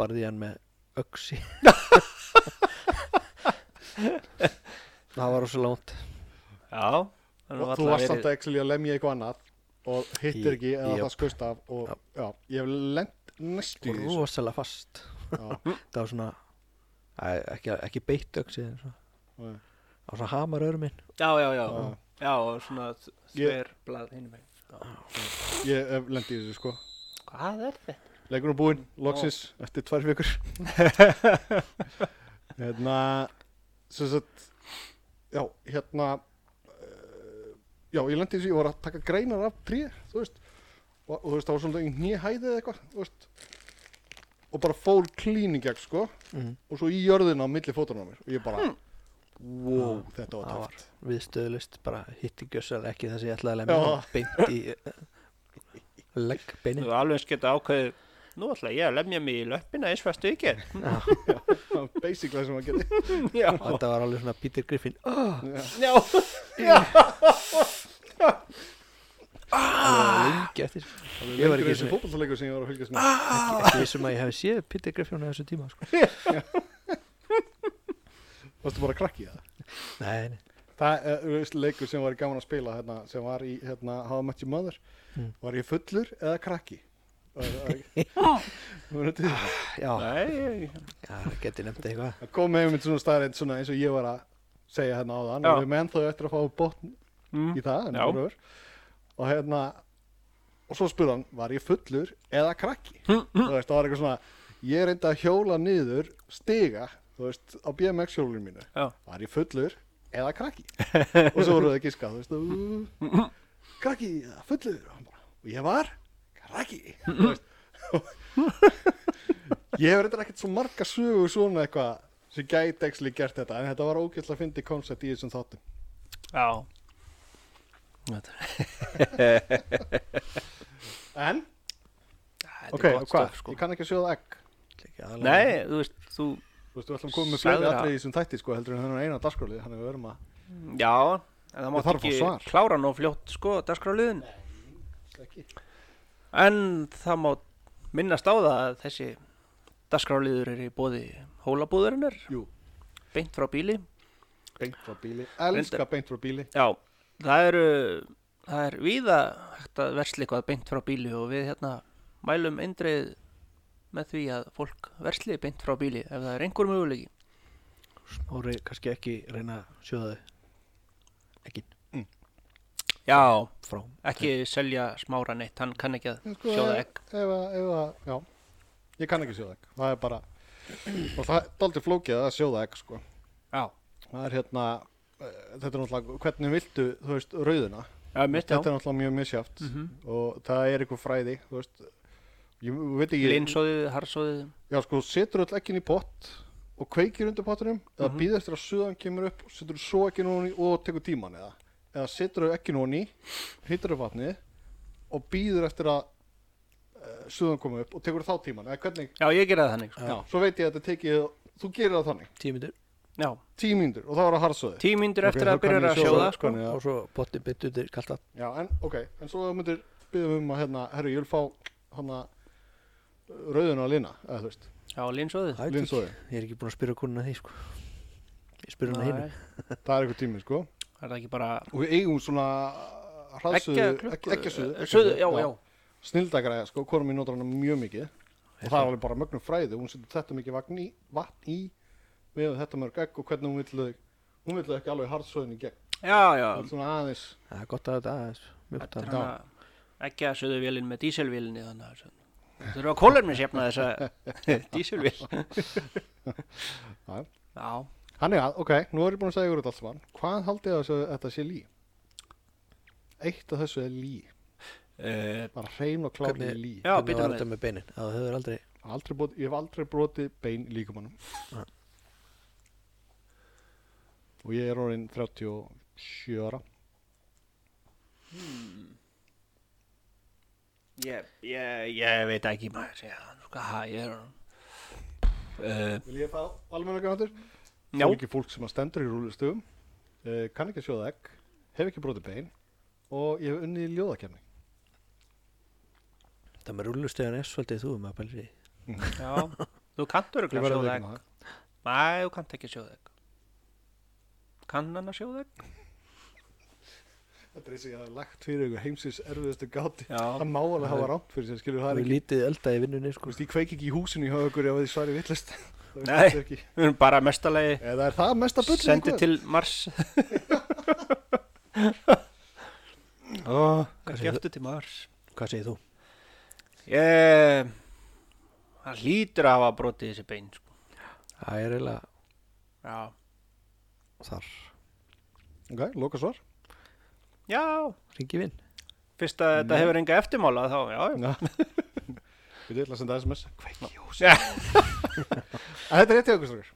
Speaker 3: barði hann með öksi það var svo langt
Speaker 2: Já, hann
Speaker 1: Og
Speaker 2: var
Speaker 1: þú
Speaker 2: alltaf
Speaker 1: varst samt
Speaker 2: verið
Speaker 1: að actually að lemja eitthvað annað og hittir
Speaker 3: Í-
Speaker 1: ekki eða
Speaker 3: jöp.
Speaker 1: það skust af og já, ég hef lent næstu í þessu
Speaker 3: rosalega fast
Speaker 1: Já,
Speaker 3: það var svona Æ, ekki, ekki beitt öksi en svona-
Speaker 1: já.
Speaker 3: það var svona hamar örum minn
Speaker 2: Já, já, já,
Speaker 1: Já.
Speaker 2: já, og svona
Speaker 1: Ég-
Speaker 2: þver blað hinum megin
Speaker 1: ég hef lent í þessu sko
Speaker 2: Hvað er þetta?
Speaker 1: leikur er búinn, loksins, eftir tvær vikur hérna sem sagt já, hérna eh, já, ég lent í þessu, ég var að taka greinar af tré, þú veist og, og þú veist, það var svona nýhæðið eða eitthvað þú veist og bara fól klíningegg sko
Speaker 3: mm.
Speaker 1: og svo í jörðina á milli fótana á mér og ég bara, wow, þetta var
Speaker 3: Ah, það
Speaker 1: töff
Speaker 3: var viðstöðlust bara hitti gjössalega ekki það sem ég ætlaði að lemja
Speaker 1: Já.
Speaker 3: hann beint í eh, legg
Speaker 2: Þú
Speaker 3: beinin
Speaker 2: hefur alveg eins geta ákveðið Nú ætla ég að lemja mig í löppina eins fæstu ekki
Speaker 1: basically sem að geta
Speaker 2: Já,
Speaker 3: þetta var alveg svona Peter Griffin
Speaker 1: Ah!
Speaker 3: oh,
Speaker 2: já,
Speaker 3: lengi eftir ég var
Speaker 1: lengur
Speaker 3: ekki um
Speaker 1: þessi
Speaker 3: svona-
Speaker 1: fótballtaleikur sem ég var að fylgjast
Speaker 3: Ah!
Speaker 1: með
Speaker 3: ekki vissum að ég hef séð Peter Griffin á þessu tíma sko.
Speaker 1: varstu bara að krakki það
Speaker 3: nei, nei.
Speaker 1: það er þú veist, leikur sem var gaman að spila hérna, sem var í hérna, How I Met Your Mother
Speaker 2: Hmm.
Speaker 3: Mm.
Speaker 1: var ég fullur eða krakki það
Speaker 3: já,
Speaker 2: nei,
Speaker 3: já geti nefnt eitthvað
Speaker 1: kom með einmitt svona staðreind svona eins og ég var að segja hérna á þann
Speaker 2: Já.
Speaker 1: og við menn þau eftir að fá botn
Speaker 2: mm.
Speaker 1: í það en
Speaker 2: Já.
Speaker 1: rör. og hérna og svo spurði hann, var ég fullur eða krakki
Speaker 2: Hmm,
Speaker 1: þú veist, það var eitthvað svona ég reyndi að hjóla niður stiga, þú veist, á BMX hjólinu mínu
Speaker 2: Já.
Speaker 1: var ég fullur eða krakki og svo voru það giska, þú veist uh, krakki eða fullur og, hann bara, og ég var krakki þú veist ég hef reyndar ekkert svo marga sögur svona eitthvað sem gæti ekki gert þetta en þetta var ógæslega að fyndi koncept í þessum þáttum
Speaker 2: já
Speaker 1: en
Speaker 2: Þetta er gott
Speaker 1: Ok, og hvað?
Speaker 2: stöf, sko.
Speaker 1: Ég kann ekki að sjóða egg.
Speaker 3: Ekki aðalega.
Speaker 2: Nei, þú veist, þú
Speaker 1: Þú veist, við ætlum að koma með
Speaker 2: Sagði
Speaker 1: fleiri
Speaker 2: það.
Speaker 1: atrið í þessum þætti, sko, heldur en þennan eina dagskrálið, þannig að við verum að...
Speaker 2: Já, en það mátt
Speaker 1: þarf að fá
Speaker 2: ekki
Speaker 1: svar.
Speaker 2: klára nóg fljótt sko, dagskráliðin
Speaker 1: Ekki.
Speaker 2: En það má minnast á það að þessi dagskráliður er í bóði hólabúðurinnar
Speaker 1: Jú,
Speaker 2: beint frá bíli
Speaker 1: beint frá bíli. Elska
Speaker 2: Reyndar-
Speaker 1: beint frá bíli.
Speaker 2: Já, það eru það er víða hægt að versla eitthvað beint frá bíli og við hérna mælum eindreið með því að fólk versli beint frá bíli ef það er einhver möguleiki
Speaker 3: Smári kannski ekki reyna að sjóða þau ekki
Speaker 2: Já,
Speaker 3: frá
Speaker 2: ekki selja smára neitt, hann kann ekki að
Speaker 1: En sko,
Speaker 2: sjóða
Speaker 1: ef-
Speaker 2: egg
Speaker 1: Ef að, ef að, já. Ég kann ekki sjóða egg. Það er bara... Og það er aldrei flókið að sjóða egg, sko.
Speaker 2: Já,
Speaker 1: Það er hérna... eh, Þetta er náttúrulega, hvernig viltu, þú veist, rauðuna?
Speaker 2: já mitt já
Speaker 1: Þetta er náttúrulega mjög misjáft
Speaker 2: Mhm.
Speaker 1: og það er eitthvað fræði, þú veist. Ég veit ekki...
Speaker 2: Linsóðið, harsóðið
Speaker 1: Já, sko, setur öll ekkin í pott og kveikir undir pottunum eða
Speaker 2: Mhm.
Speaker 1: býður eftir að suðan kemur upp og setur svo ekkin honi og tekur tíman eða eða setur ekkin honi, hittar upp vatnið og býður eftir að uh, suðan komi upp og tekur þá tíman eða hvernig,
Speaker 2: Já, ég gera það þannig sko.
Speaker 1: já. svo veit ég að þetta tekið þú gerir það þannig,
Speaker 3: tímindur
Speaker 2: Já,
Speaker 1: tímyndur og það var að harsuði
Speaker 2: tíu mínútur
Speaker 1: Ok,
Speaker 2: eftir
Speaker 1: þá
Speaker 2: að
Speaker 1: kann
Speaker 2: byrja
Speaker 1: ég
Speaker 2: að
Speaker 1: sjóða.
Speaker 2: sjóða sko.
Speaker 1: Hvernig, já.
Speaker 3: og svo bótti bytt undir kallt vatn
Speaker 1: Já, en ok, en svo myndir býðum um að hérna, herru, ég vil fá hana rauðuna að lina, eða þú veist,
Speaker 2: Já, linsóðið
Speaker 3: Það veit ég
Speaker 1: linsóði,
Speaker 3: ekki. ég er ekki búin að spyrja konuna því sko ég spyr hana hinn
Speaker 2: Nei,
Speaker 1: það er eitthvað tími, sko
Speaker 2: Það er það ekki bara
Speaker 1: og við eigum svona hraðsuðu,
Speaker 2: Eggjagluggasuðu,
Speaker 1: ekkjasuðu,
Speaker 2: eh, suðu, já, já.
Speaker 1: snildagræða sko, hvorum ég notar hana mjög mikið og það
Speaker 3: Er
Speaker 1: er
Speaker 3: það?
Speaker 1: alveg bara mögnum fræði, hún setur þetta mikið vatn í, vatn í við höfum þetta mörg egg og hvernig hún vill þau hún vill þau ekki alveg harðsöðin í gegn
Speaker 2: Já, já,
Speaker 1: um, svona aðeins,
Speaker 3: það er gott að þetta aðeins mjúkt
Speaker 2: þetta er
Speaker 3: að
Speaker 2: hann að ekki að söðu vélinn með díselvélinni þannig að svona. Þú þurfa að kólefni sefna þessa díselvél
Speaker 1: Já.
Speaker 2: Já,
Speaker 1: hann er að, ok nú er ég búin að segja ykkur þetta allt saman, hvað haldið þið að þessu- þetta sé lí eitt af þessu er lí,
Speaker 2: uh,
Speaker 1: bara hrein og klárli
Speaker 3: Hvernig-
Speaker 1: lí
Speaker 2: já
Speaker 3: hvernig
Speaker 2: býtum við
Speaker 3: var þetta með beinin það höfður aldrei
Speaker 1: aldrei brot, ég hef aldrei brotið bein í líkamannum
Speaker 3: Nei.
Speaker 1: og ég er orðin 37 ára
Speaker 2: ég, ég, ég veit ekki maður segja það nú, ha, ég er uh,
Speaker 1: vil ég fá almenna grannatur
Speaker 2: Já,
Speaker 1: mikið fólk sem að stendur í rúlistöfum uh, kann Eh, ekki að sjóða egg hef ekki brotið bein og ég hef unnið í ljóðakefni
Speaker 3: Það með rúllustegan er svolítið þú maður pælir í því.
Speaker 2: Já, þú kannt
Speaker 1: ég
Speaker 2: öruglega
Speaker 1: verði að
Speaker 2: sjóða egg.
Speaker 1: veikna það
Speaker 2: Nei, þú kannt ekki sjóða egg. Kann hann að sjóða egg?
Speaker 1: þetta er eins og ég hafði lagt fyrir ykkur heimsins erfiðustu gáti
Speaker 2: Já.
Speaker 1: það má alveg hafa rámt fyrir sér skilur það
Speaker 3: Þú
Speaker 1: er
Speaker 3: er
Speaker 1: ekki
Speaker 3: lítið elda í vinnunni
Speaker 1: Þú
Speaker 3: sko
Speaker 1: veist, ég kveik ekki í húsinu hjá ykkur ef þið svari villist
Speaker 2: Nei.
Speaker 1: ekki.
Speaker 2: Við erum bara mestalegi
Speaker 1: eða er það mesta bull
Speaker 2: sendið til Mars. Ó, kannski
Speaker 3: segir
Speaker 2: eftir til Mars.
Speaker 3: Hvað segir þú?
Speaker 2: Ég, það hlýtur að hafa brotið þessi bein, sko.
Speaker 3: Það er eiginlega
Speaker 2: Já.
Speaker 3: þar
Speaker 1: ok, loka svar
Speaker 2: Já,
Speaker 3: Ringi vinn
Speaker 2: fyrst að þetta hefur enga eftirmála þá, já, já.
Speaker 1: Já. við ætla að senda sms kveik í húsinu
Speaker 2: Já.
Speaker 1: En þetta er rétt í okkur strókar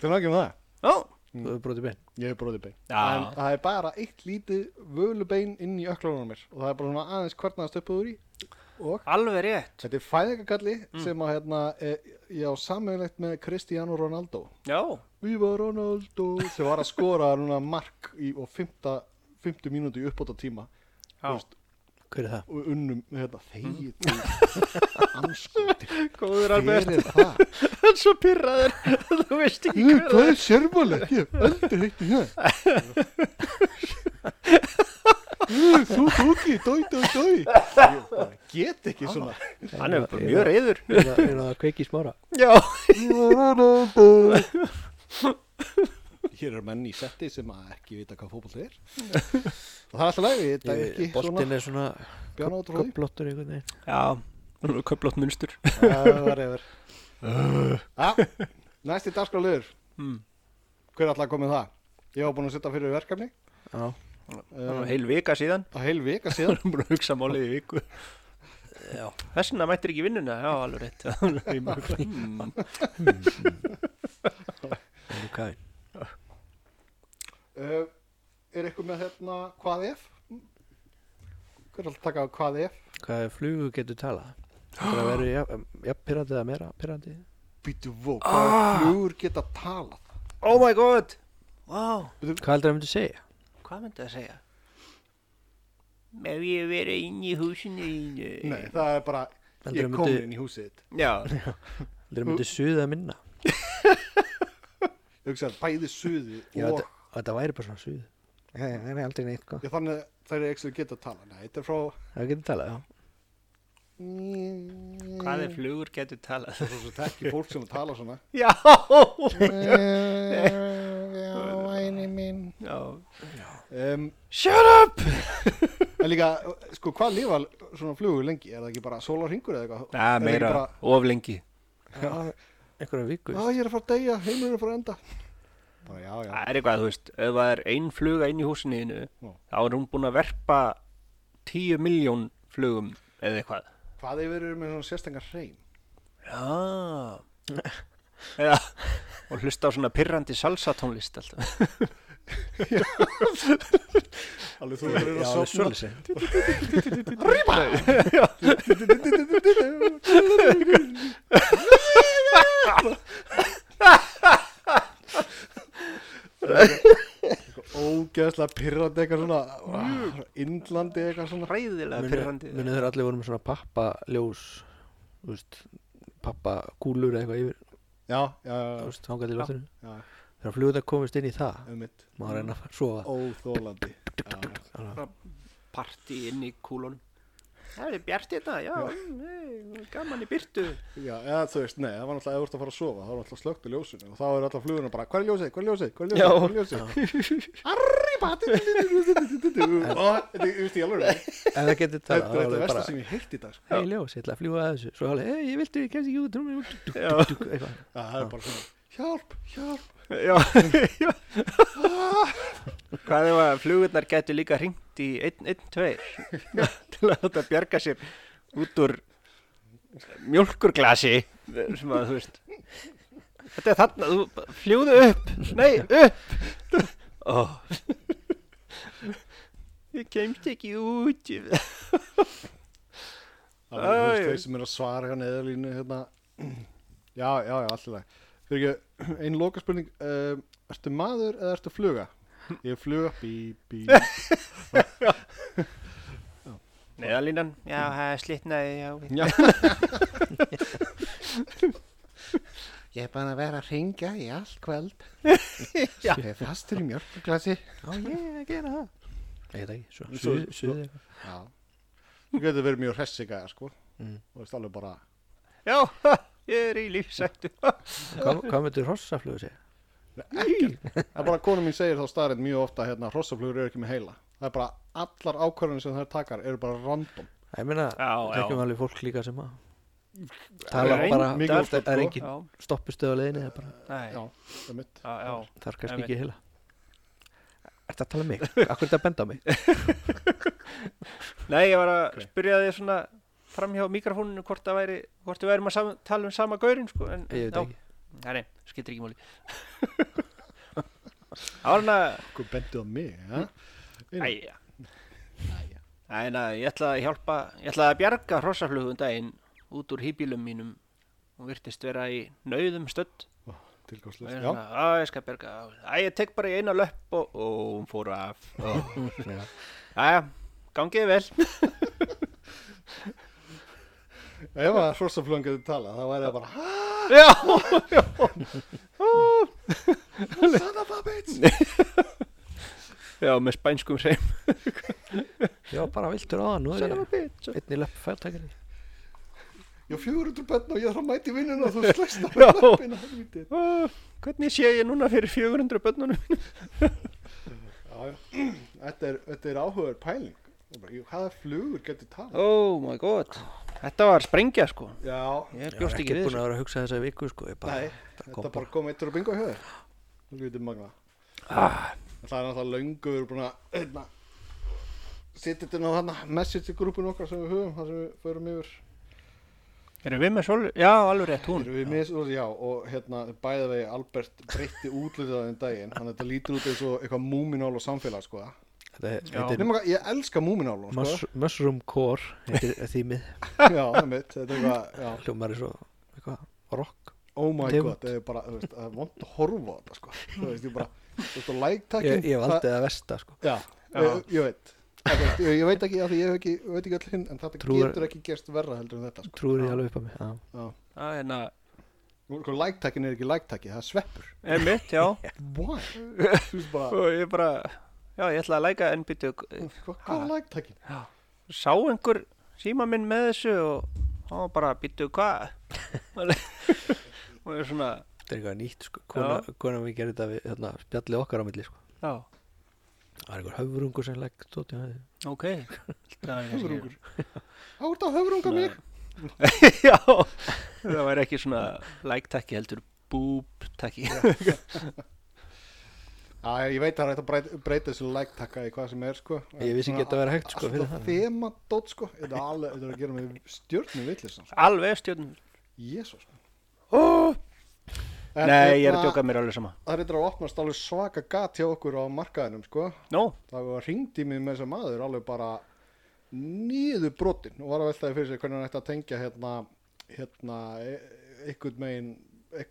Speaker 1: það er nokkið um það
Speaker 2: Ó,
Speaker 3: Þú er brotið bein
Speaker 1: ég hef brotið bein
Speaker 2: Já.
Speaker 1: en það er bara eitt lítið völubein inn í öklarunum mér og það er bara svona aðeins hvernig það úr í og
Speaker 2: alveg rétt.
Speaker 1: þetta er fæðingakalli
Speaker 2: Mm.
Speaker 1: sem að hérna eh, ég á sammeðlegt með Cristiano Ronaldo
Speaker 2: Já,
Speaker 1: Viva Ronaldo sem var að skora núna mark í, og 50, 50 mínúti í uppbóta tíma
Speaker 2: já. Mm.
Speaker 3: Hver er það?
Speaker 1: og unnum hérna, þegið anskotir
Speaker 2: Góður
Speaker 1: hver er það?
Speaker 2: Það er svo pyrraður. Þú veist ekki
Speaker 1: Guð,
Speaker 2: hver
Speaker 1: það er sérmálega ég hef aldrei heitt í það Guð, þú tóki, dói, dói, dói ég bara get ekki svona
Speaker 2: Hann er bara mjög reyður.
Speaker 3: Er það- er það að kveiki í smára?
Speaker 2: Já.
Speaker 1: Viva Ronaldo hér eru menn í setti sem að ekki vita hvað fótboll er og það er alltaf lægi, þetta er ekki svona
Speaker 3: Boltin er svona
Speaker 1: bjána út og
Speaker 3: Köplottur einhvern veginn
Speaker 2: Já, hann er köflótt munstur.
Speaker 1: hlóði næsti dagskráliður
Speaker 2: Mm.
Speaker 1: hver er alltaf komið það? ég var búin að setja fyrir verkefni
Speaker 3: Já
Speaker 2: Það var
Speaker 1: um,
Speaker 2: heil vika síðan.
Speaker 1: á heil vika síðan
Speaker 2: Hann er búin að hugsa málið í viku. Já. Þess vegna mættir ekki í vinnuna. Já, alveg rétt. Hmm.
Speaker 3: Það er kæn
Speaker 1: Uh, er eitthvað með hérna hvað ef? Hver er alltaf að taka á hvað ef?
Speaker 3: Hvað er flugu getur talað? Það er að vera jafn ja, pyrrandi eða meira pyrrandi
Speaker 1: Býtu vó, hvað ah. flugur geta talað?
Speaker 2: Oh my god. Vá.
Speaker 3: Hvað heldur það myndi segja?
Speaker 2: Hvað myndi það að segja? Ef ég verið inn í húsinu í...
Speaker 1: Nei, það er bara, ég
Speaker 3: Heldur það
Speaker 1: er
Speaker 3: myndi-
Speaker 1: komin inn í húsið þitt.
Speaker 2: Já.
Speaker 3: Heldur það myndi suða minna?
Speaker 1: Ég hugsa að bæði suði
Speaker 3: Já,
Speaker 1: og
Speaker 3: þetta, þetta væri bara svona suð Það er aldrei neitt sko. hvað
Speaker 1: ég, þannig að þær eru ekki sem geta talað. Nei, þetta er frá...
Speaker 3: Það getur talað, já
Speaker 2: Hvað er flugur getur talað?
Speaker 1: Svo svo svo tekki fólk sem tala svona.
Speaker 2: Já.
Speaker 1: Eh, Já, væni minn.
Speaker 2: Já.
Speaker 1: Um,
Speaker 2: Shut up!
Speaker 1: en líka, sko, hvað lifa svona flugur lengi? Er það ekki bara sólarhingur eða eitthvað?
Speaker 2: Nei,
Speaker 1: Er það ekki
Speaker 2: meira.
Speaker 1: bara-
Speaker 2: Of lengi.
Speaker 3: Einhverjum viku
Speaker 1: Já, ég er að fara að deyja, heimurinn er að fara að enda bara, Já, já,
Speaker 2: Það er eitthvað, þú veist, ef það er ein fluga inn í húsinniðinu,
Speaker 1: Já.
Speaker 2: þá er hún búin að verpa 10 miljón flugum eða eitthvað.
Speaker 1: hvað ef við erum með svona sérstengar hrein?
Speaker 2: Já. eða, og hlusta á svona pirrandi salsatónlist alltaf.
Speaker 1: Alveg þú verður að
Speaker 3: Já, það er
Speaker 1: sofna
Speaker 3: svolítið
Speaker 1: Rýma! Ógeðslega pirrandi eitthvað svona Indlandi eitthvað svona
Speaker 2: Ræðilega
Speaker 3: Munu,
Speaker 2: pirrandi.
Speaker 3: munu þeir allir voru með svona pappaljós þú veist, pappakúlur eða eitthvað yfir
Speaker 1: Já, já, já,
Speaker 3: þú veist, hangað til loftinu
Speaker 1: já,
Speaker 3: þegar flugunar komist inn í það
Speaker 1: um mitt
Speaker 3: maður reyna að sofa
Speaker 1: Óþólandi Já, já.
Speaker 2: Parti inn í kúlunum. Það er bjart þetta, já, nei, gaman í byrtu.
Speaker 1: Já, eða þú veist, nei, það var náttúrulega eða þú ert að fara að sofa, þá var náttúrulega slögt í ljósinu og þá er alltaf fluguna bara, hvað er ljósið, hvað er ljósið, hvað er ljósið, hvað er ljósið? Arri, bati, þetta er út í alveg,
Speaker 3: ef það getur
Speaker 1: þetta er
Speaker 3: talað þá
Speaker 1: þetta
Speaker 3: alveg
Speaker 1: versta
Speaker 3: bara
Speaker 1: sem ég heilt í dag, sko.
Speaker 3: hei ljós, ég ætla að fljúa að þessu svo alveg, hei, ég viltu, ég kemst ekki út rúmum, duk, duk,
Speaker 2: Já.
Speaker 3: duk, eitthvað.
Speaker 1: Já, Það er bara svona, hjálp, hjálp,
Speaker 2: Já, já. Hvað ef að flugurnar getur líka hringt í 1-2 til að þetta bjarga sér út úr mjölkurglasi sem að þú veist Þetta er þarna, þú fljúðu upp Nei, upp oh. Ég kemst ekki út
Speaker 1: það er þú veist,
Speaker 2: Æ.
Speaker 1: þeir sem er að svara hjá neðalínu, hérna, já, já, já, alltaf, fyrir ekki, einn lokaspurning, um, ertu maður eh, eða ertu fluga? Ég flug upp í bí
Speaker 2: Neðalínan, já, það er slitnaði, já.
Speaker 1: Já. Ég er bara að vera að ringja í allt kvöld
Speaker 2: Já.
Speaker 1: Ég er fastur í mjörgglasi
Speaker 3: Já, ég er að gera það. Ég veit ekki, svo,
Speaker 1: Svo-
Speaker 3: suð, suð,
Speaker 1: Já Þú getur verið mjög hressigaðar sko
Speaker 3: Mm.
Speaker 1: Þú veist alveg bara
Speaker 2: Já, ha, ég er í lífsættu.
Speaker 3: hvað, hvað myndir hrossaflugur segja?
Speaker 1: Það er bara að konu mín segir þá starrið mjög ofta hérna Hrossaflugur eru ekki með heila Það er bara allar ákvarðanir sem þær takar eru bara random
Speaker 3: Æ, Ég meina,
Speaker 2: Já,
Speaker 3: þekkjum
Speaker 2: já.
Speaker 3: alveg fólk líka sem að tala
Speaker 2: reyndar-
Speaker 3: bara,
Speaker 1: mikið
Speaker 3: það
Speaker 1: fólk,
Speaker 3: er
Speaker 1: sko.
Speaker 3: engin
Speaker 2: Já,
Speaker 3: stoppistöð á leiðinni, það er bara,
Speaker 2: nei,
Speaker 1: Já,
Speaker 2: já,
Speaker 1: það er mitt
Speaker 2: já.
Speaker 3: það er kannski
Speaker 2: Einmitt.
Speaker 3: ekki heila. Ertu að tala um mig? Akkur er þetta að benda á mig?
Speaker 2: Nei, ég var að
Speaker 1: Ok.
Speaker 2: spyrja þig svona framhjá mikrofóninu hvort það væri, hvort við værum að sam, tala um sama gaurin, sko. En,
Speaker 3: Ég veit
Speaker 2: já.
Speaker 3: ekki.
Speaker 2: Nei, nei, skiptir ekki máli. Það var hann að,
Speaker 1: Hvað bendið á mig, ja?
Speaker 2: æja. Æja. Æja, ég ætlaði að hjálpa, ég ætlaði að bjarga hrossaflugum daginn út úr hýbílum mínum og virtist vera í nauðum stödd. og
Speaker 1: Tilgjóðslega
Speaker 2: ég er
Speaker 1: Já,
Speaker 2: svona, að ég skal berga að ég tek bara í eina löpp og, og hún fór af aðja, gangiði vel
Speaker 1: ef að hrossaflugan getur talað þá væri það bara "Ha,
Speaker 2: já, já
Speaker 1: Son of a bitch
Speaker 2: já, með spænskum hreim
Speaker 3: Já, bara viltur á það, nú er ég
Speaker 2: bitch
Speaker 3: einnig löpp færtækari.
Speaker 1: Ég á 400 bönn og ég þarf að mæti vinnuna og þú slæst á
Speaker 2: Já.
Speaker 1: löppina helvítið
Speaker 2: Ah, hvernig sé ég núna fyrir 400 börnunum mínum?
Speaker 1: Já, já. Þetta er, þetta er áhugaður pæling Það er bara, jú, Hvaða flugur getur talað?
Speaker 2: oh my god þetta var sprengja sko
Speaker 1: Já,
Speaker 2: ég
Speaker 3: Ég var
Speaker 2: bjóst
Speaker 3: ekki
Speaker 2: ekki við
Speaker 3: búin að
Speaker 2: þessu
Speaker 3: vera að hugsa þessa viku, sko. Ég bara,
Speaker 1: Nei,
Speaker 3: þetta kom
Speaker 1: þetta bara kom eittur og bingo í höður Lítið magna
Speaker 2: ah,
Speaker 1: Það er náttúrulega löngu við erum búin að einna, Sittir þetta nú þarna message í grúpun okkar sem við höfum þar sem við förum yfir
Speaker 2: erum við með svolítið, já, alveg rétt hún
Speaker 1: Erum við mis, og, já, og hérna bæða vegi Albert breytti útlitaðin daginn Þannig að þetta lítur út eins og eitthvað múminál og samfélag sko.
Speaker 3: Þetta
Speaker 2: Já.
Speaker 3: heitir
Speaker 1: Nefnum, ég elska múminál sko.
Speaker 3: Mus- Mushroom Core, heitir þýmið.
Speaker 1: Já, það er mitt, þetta er eitthvað já.
Speaker 3: Hljómar er svo, eitthvað, rock.
Speaker 1: oh my
Speaker 3: Tegund.
Speaker 1: god, það er bara, þú veist, það er vond að horfa á þetta, sko, þú veist, ég bara, þú veist, og like-takkin,
Speaker 3: Ég, ég valdi það versta, sko.
Speaker 1: já,
Speaker 2: Já.
Speaker 1: Ég, ég veit, Það er, ég, ég veit ekki, af því ég hef ekki, ég veit ekki öll hinn, en þetta
Speaker 3: Trúir-
Speaker 1: getur ekki gerst verra heldur en þetta, sko,
Speaker 3: Trúir ég alveg upp á mig, já.
Speaker 1: já,
Speaker 2: ah, hérna,
Speaker 1: og sko, like-takkin er ekki like-takki, það er sveppur,
Speaker 2: er mitt, já
Speaker 1: why, þú veist bara,
Speaker 2: og ég bara, já, ég ætlaði að læka en býtu,
Speaker 1: hvað, hvað er like-takkin,
Speaker 2: sá einhver síma minn með þessu og hann var bara býttu hvað og ég er svona
Speaker 3: Þetta er eitthvað nýtt, sko. Kona, kona við gerum þetta við, hérna, spjalli okkar á milli, sko.
Speaker 2: já,
Speaker 3: Það er einhver höfurungur sem legg, tóti, hæði.
Speaker 2: ok höfrungur
Speaker 1: þá ert að höfrunga mér,
Speaker 2: já, það væri ekki svona like-takki heldur boob-takki
Speaker 1: já, ég veit að það er hægt að breyta, breyta þessu like-takka í hvað sem er, sko,
Speaker 3: Ég vissi ekki að þetta væri hægt, sko, fyrir
Speaker 1: alltaf
Speaker 3: það.
Speaker 1: þema dót, sko, þetta er alveg, þetta er að gera mig stjórnum vitlisam, sko,
Speaker 2: alveg stjórn
Speaker 1: jésús,
Speaker 2: oh, nei, ég er að djóka mér er alveg sama
Speaker 1: Hérna, það er eitthvað að opnast alveg svaka gat hjá okkur á markaðinum sko.
Speaker 2: no,
Speaker 1: það var ringdímið með þessa maður alveg bara nýður brotin og var að veltaði fyrir sér hvernig hann ætti að tengja hérna, hérna e eitthvað megin e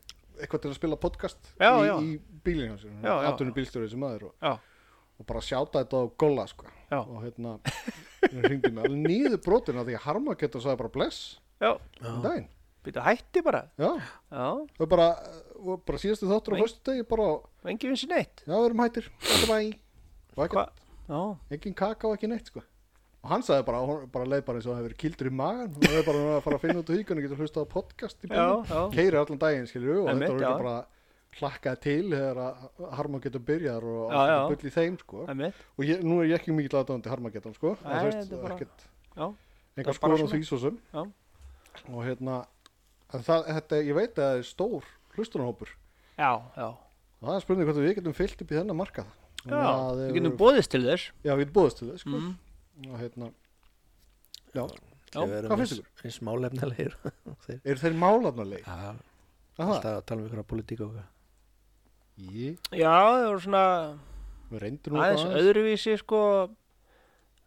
Speaker 1: eitthvað til að spila podcast
Speaker 2: Já,
Speaker 1: í,
Speaker 2: já.
Speaker 1: í bílinn hans
Speaker 2: Já, já.
Speaker 1: aðtunni bílstjóri þessi maður og,
Speaker 2: já,
Speaker 1: og bara sjáta þetta á golla sko.
Speaker 2: Já.
Speaker 1: og hérna ringdímið alveg nýður brotin af því að harma getur sagði bara bless
Speaker 2: já
Speaker 1: um daginn
Speaker 2: býttu hætti bara
Speaker 1: já,
Speaker 2: já,
Speaker 1: og bara, eh, og bara síðastu þáttur á
Speaker 2: Nei.
Speaker 1: föstu degi bara
Speaker 2: engi vissi neitt
Speaker 1: Já, við erum hættir, þetta var í Og ekkert,
Speaker 2: já,
Speaker 1: engin kaka og ekki neitt sko Og hann sagði bara, hún bara leið bara eins og það hefur verið kildur í magan Og það er bara að fara að finna út úr híkunni Getur hlustað á podcast í
Speaker 2: já,
Speaker 1: bílum
Speaker 2: já
Speaker 1: Keiri allan daginn, skilur við Og
Speaker 2: Einmitt,
Speaker 1: þetta var
Speaker 2: já.
Speaker 1: ekki bara hlakkaði til Þegar að Harmageddon byrjar og
Speaker 2: Já, já.
Speaker 1: allt bull í þeim sko
Speaker 2: það er mitt,
Speaker 1: Og ég, nú er ég ekki mikið aðdáðandi Harmageddon sko
Speaker 2: Nei,
Speaker 1: Það veist,
Speaker 2: þetta er bara-
Speaker 1: ekkert
Speaker 2: já, er
Speaker 1: Engar
Speaker 2: bara
Speaker 1: skoðun á
Speaker 2: svona.
Speaker 1: því svo sem
Speaker 2: Já.
Speaker 1: Og hérna en það, þetta, Ég veit að það er stór hlustunahópur
Speaker 2: já, já
Speaker 1: Og það er spurning hvort við getum fyllt upp í þennan markað
Speaker 2: já,
Speaker 1: Þannig að
Speaker 2: við
Speaker 1: ef
Speaker 2: getum bóðist til þess
Speaker 1: Já, við búðast til þess sko.
Speaker 2: mm.
Speaker 1: og hérna Já,
Speaker 2: Já,
Speaker 1: hvað finnst ykkur?
Speaker 3: Eins málefnilegir. og þeir-
Speaker 1: eru þeir málarnarleik?
Speaker 3: Já,
Speaker 1: Aha,
Speaker 3: alltaf að tala um ykkur á politík og eitthvað.
Speaker 1: Jí,
Speaker 2: já, það voru svona
Speaker 1: við reyndum nú
Speaker 2: aðeins
Speaker 1: eitthvað
Speaker 2: öðruvísi sko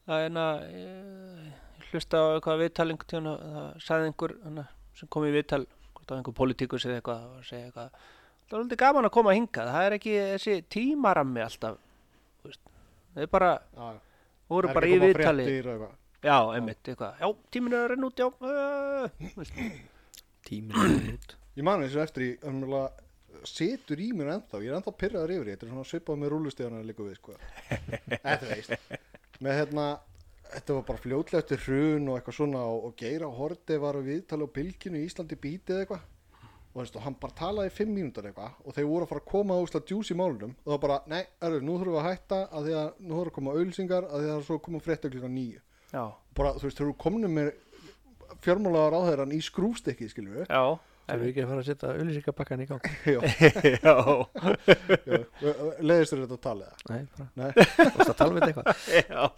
Speaker 2: það er en að ég hlusta á eitthvað viðtal einhvern tíðan og það sagði einhver hana, sem kom í viðtal, hvort það var einhver politíkus eða eitthvað og segja eitthvað það er alveg gaman að koma að hinga það er ekki þessi tímarammi alltaf þú veist. Þau bara,
Speaker 1: Já, já. Það
Speaker 2: voru
Speaker 1: er
Speaker 2: bara í
Speaker 1: ekki að koma
Speaker 2: viðtali.
Speaker 1: fréttir og eitthvað.
Speaker 2: Já, einmitt, eitthvað. Já, tíminu er að renna út, já. Uh, þú veist.
Speaker 3: tíminn er út
Speaker 1: Ég man þessu eftir í, ömurlega setur í mér ennþá, ég er ennþá pirraður yfir því, þetta er svona svipað með rúlustíðana líka við, sko. Þetta veist. Með hérna, þetta var bara fljótlega eftir hrun og eitthvað svona og, og Geira Horde var að viðtali á bylginu í Íslandi bítið eitthvað og veistu, hann bara talaði í fimm mínútur eitthvað og þeir voru að fara að koma á úsla djús í málunum og það bara, nei, erður, nú þurfum við að hætta að því að nú þurfum við að koma auðlýsingar að því að það er svo að koma frétta klukkan nýju
Speaker 2: Já,
Speaker 1: bara, þú veist, þeir eru komnum með fjármálaðar áðherran í skrúfstekki, skiljum við
Speaker 2: já.
Speaker 3: Það er ekki að fara að setja auðlýsingabakkan í gang
Speaker 1: Já,
Speaker 2: já,
Speaker 1: já, leiðist þér þetta að tala eða?
Speaker 3: Nei, bara,
Speaker 1: Nei.
Speaker 3: þú veist að tala við þetta eitthvað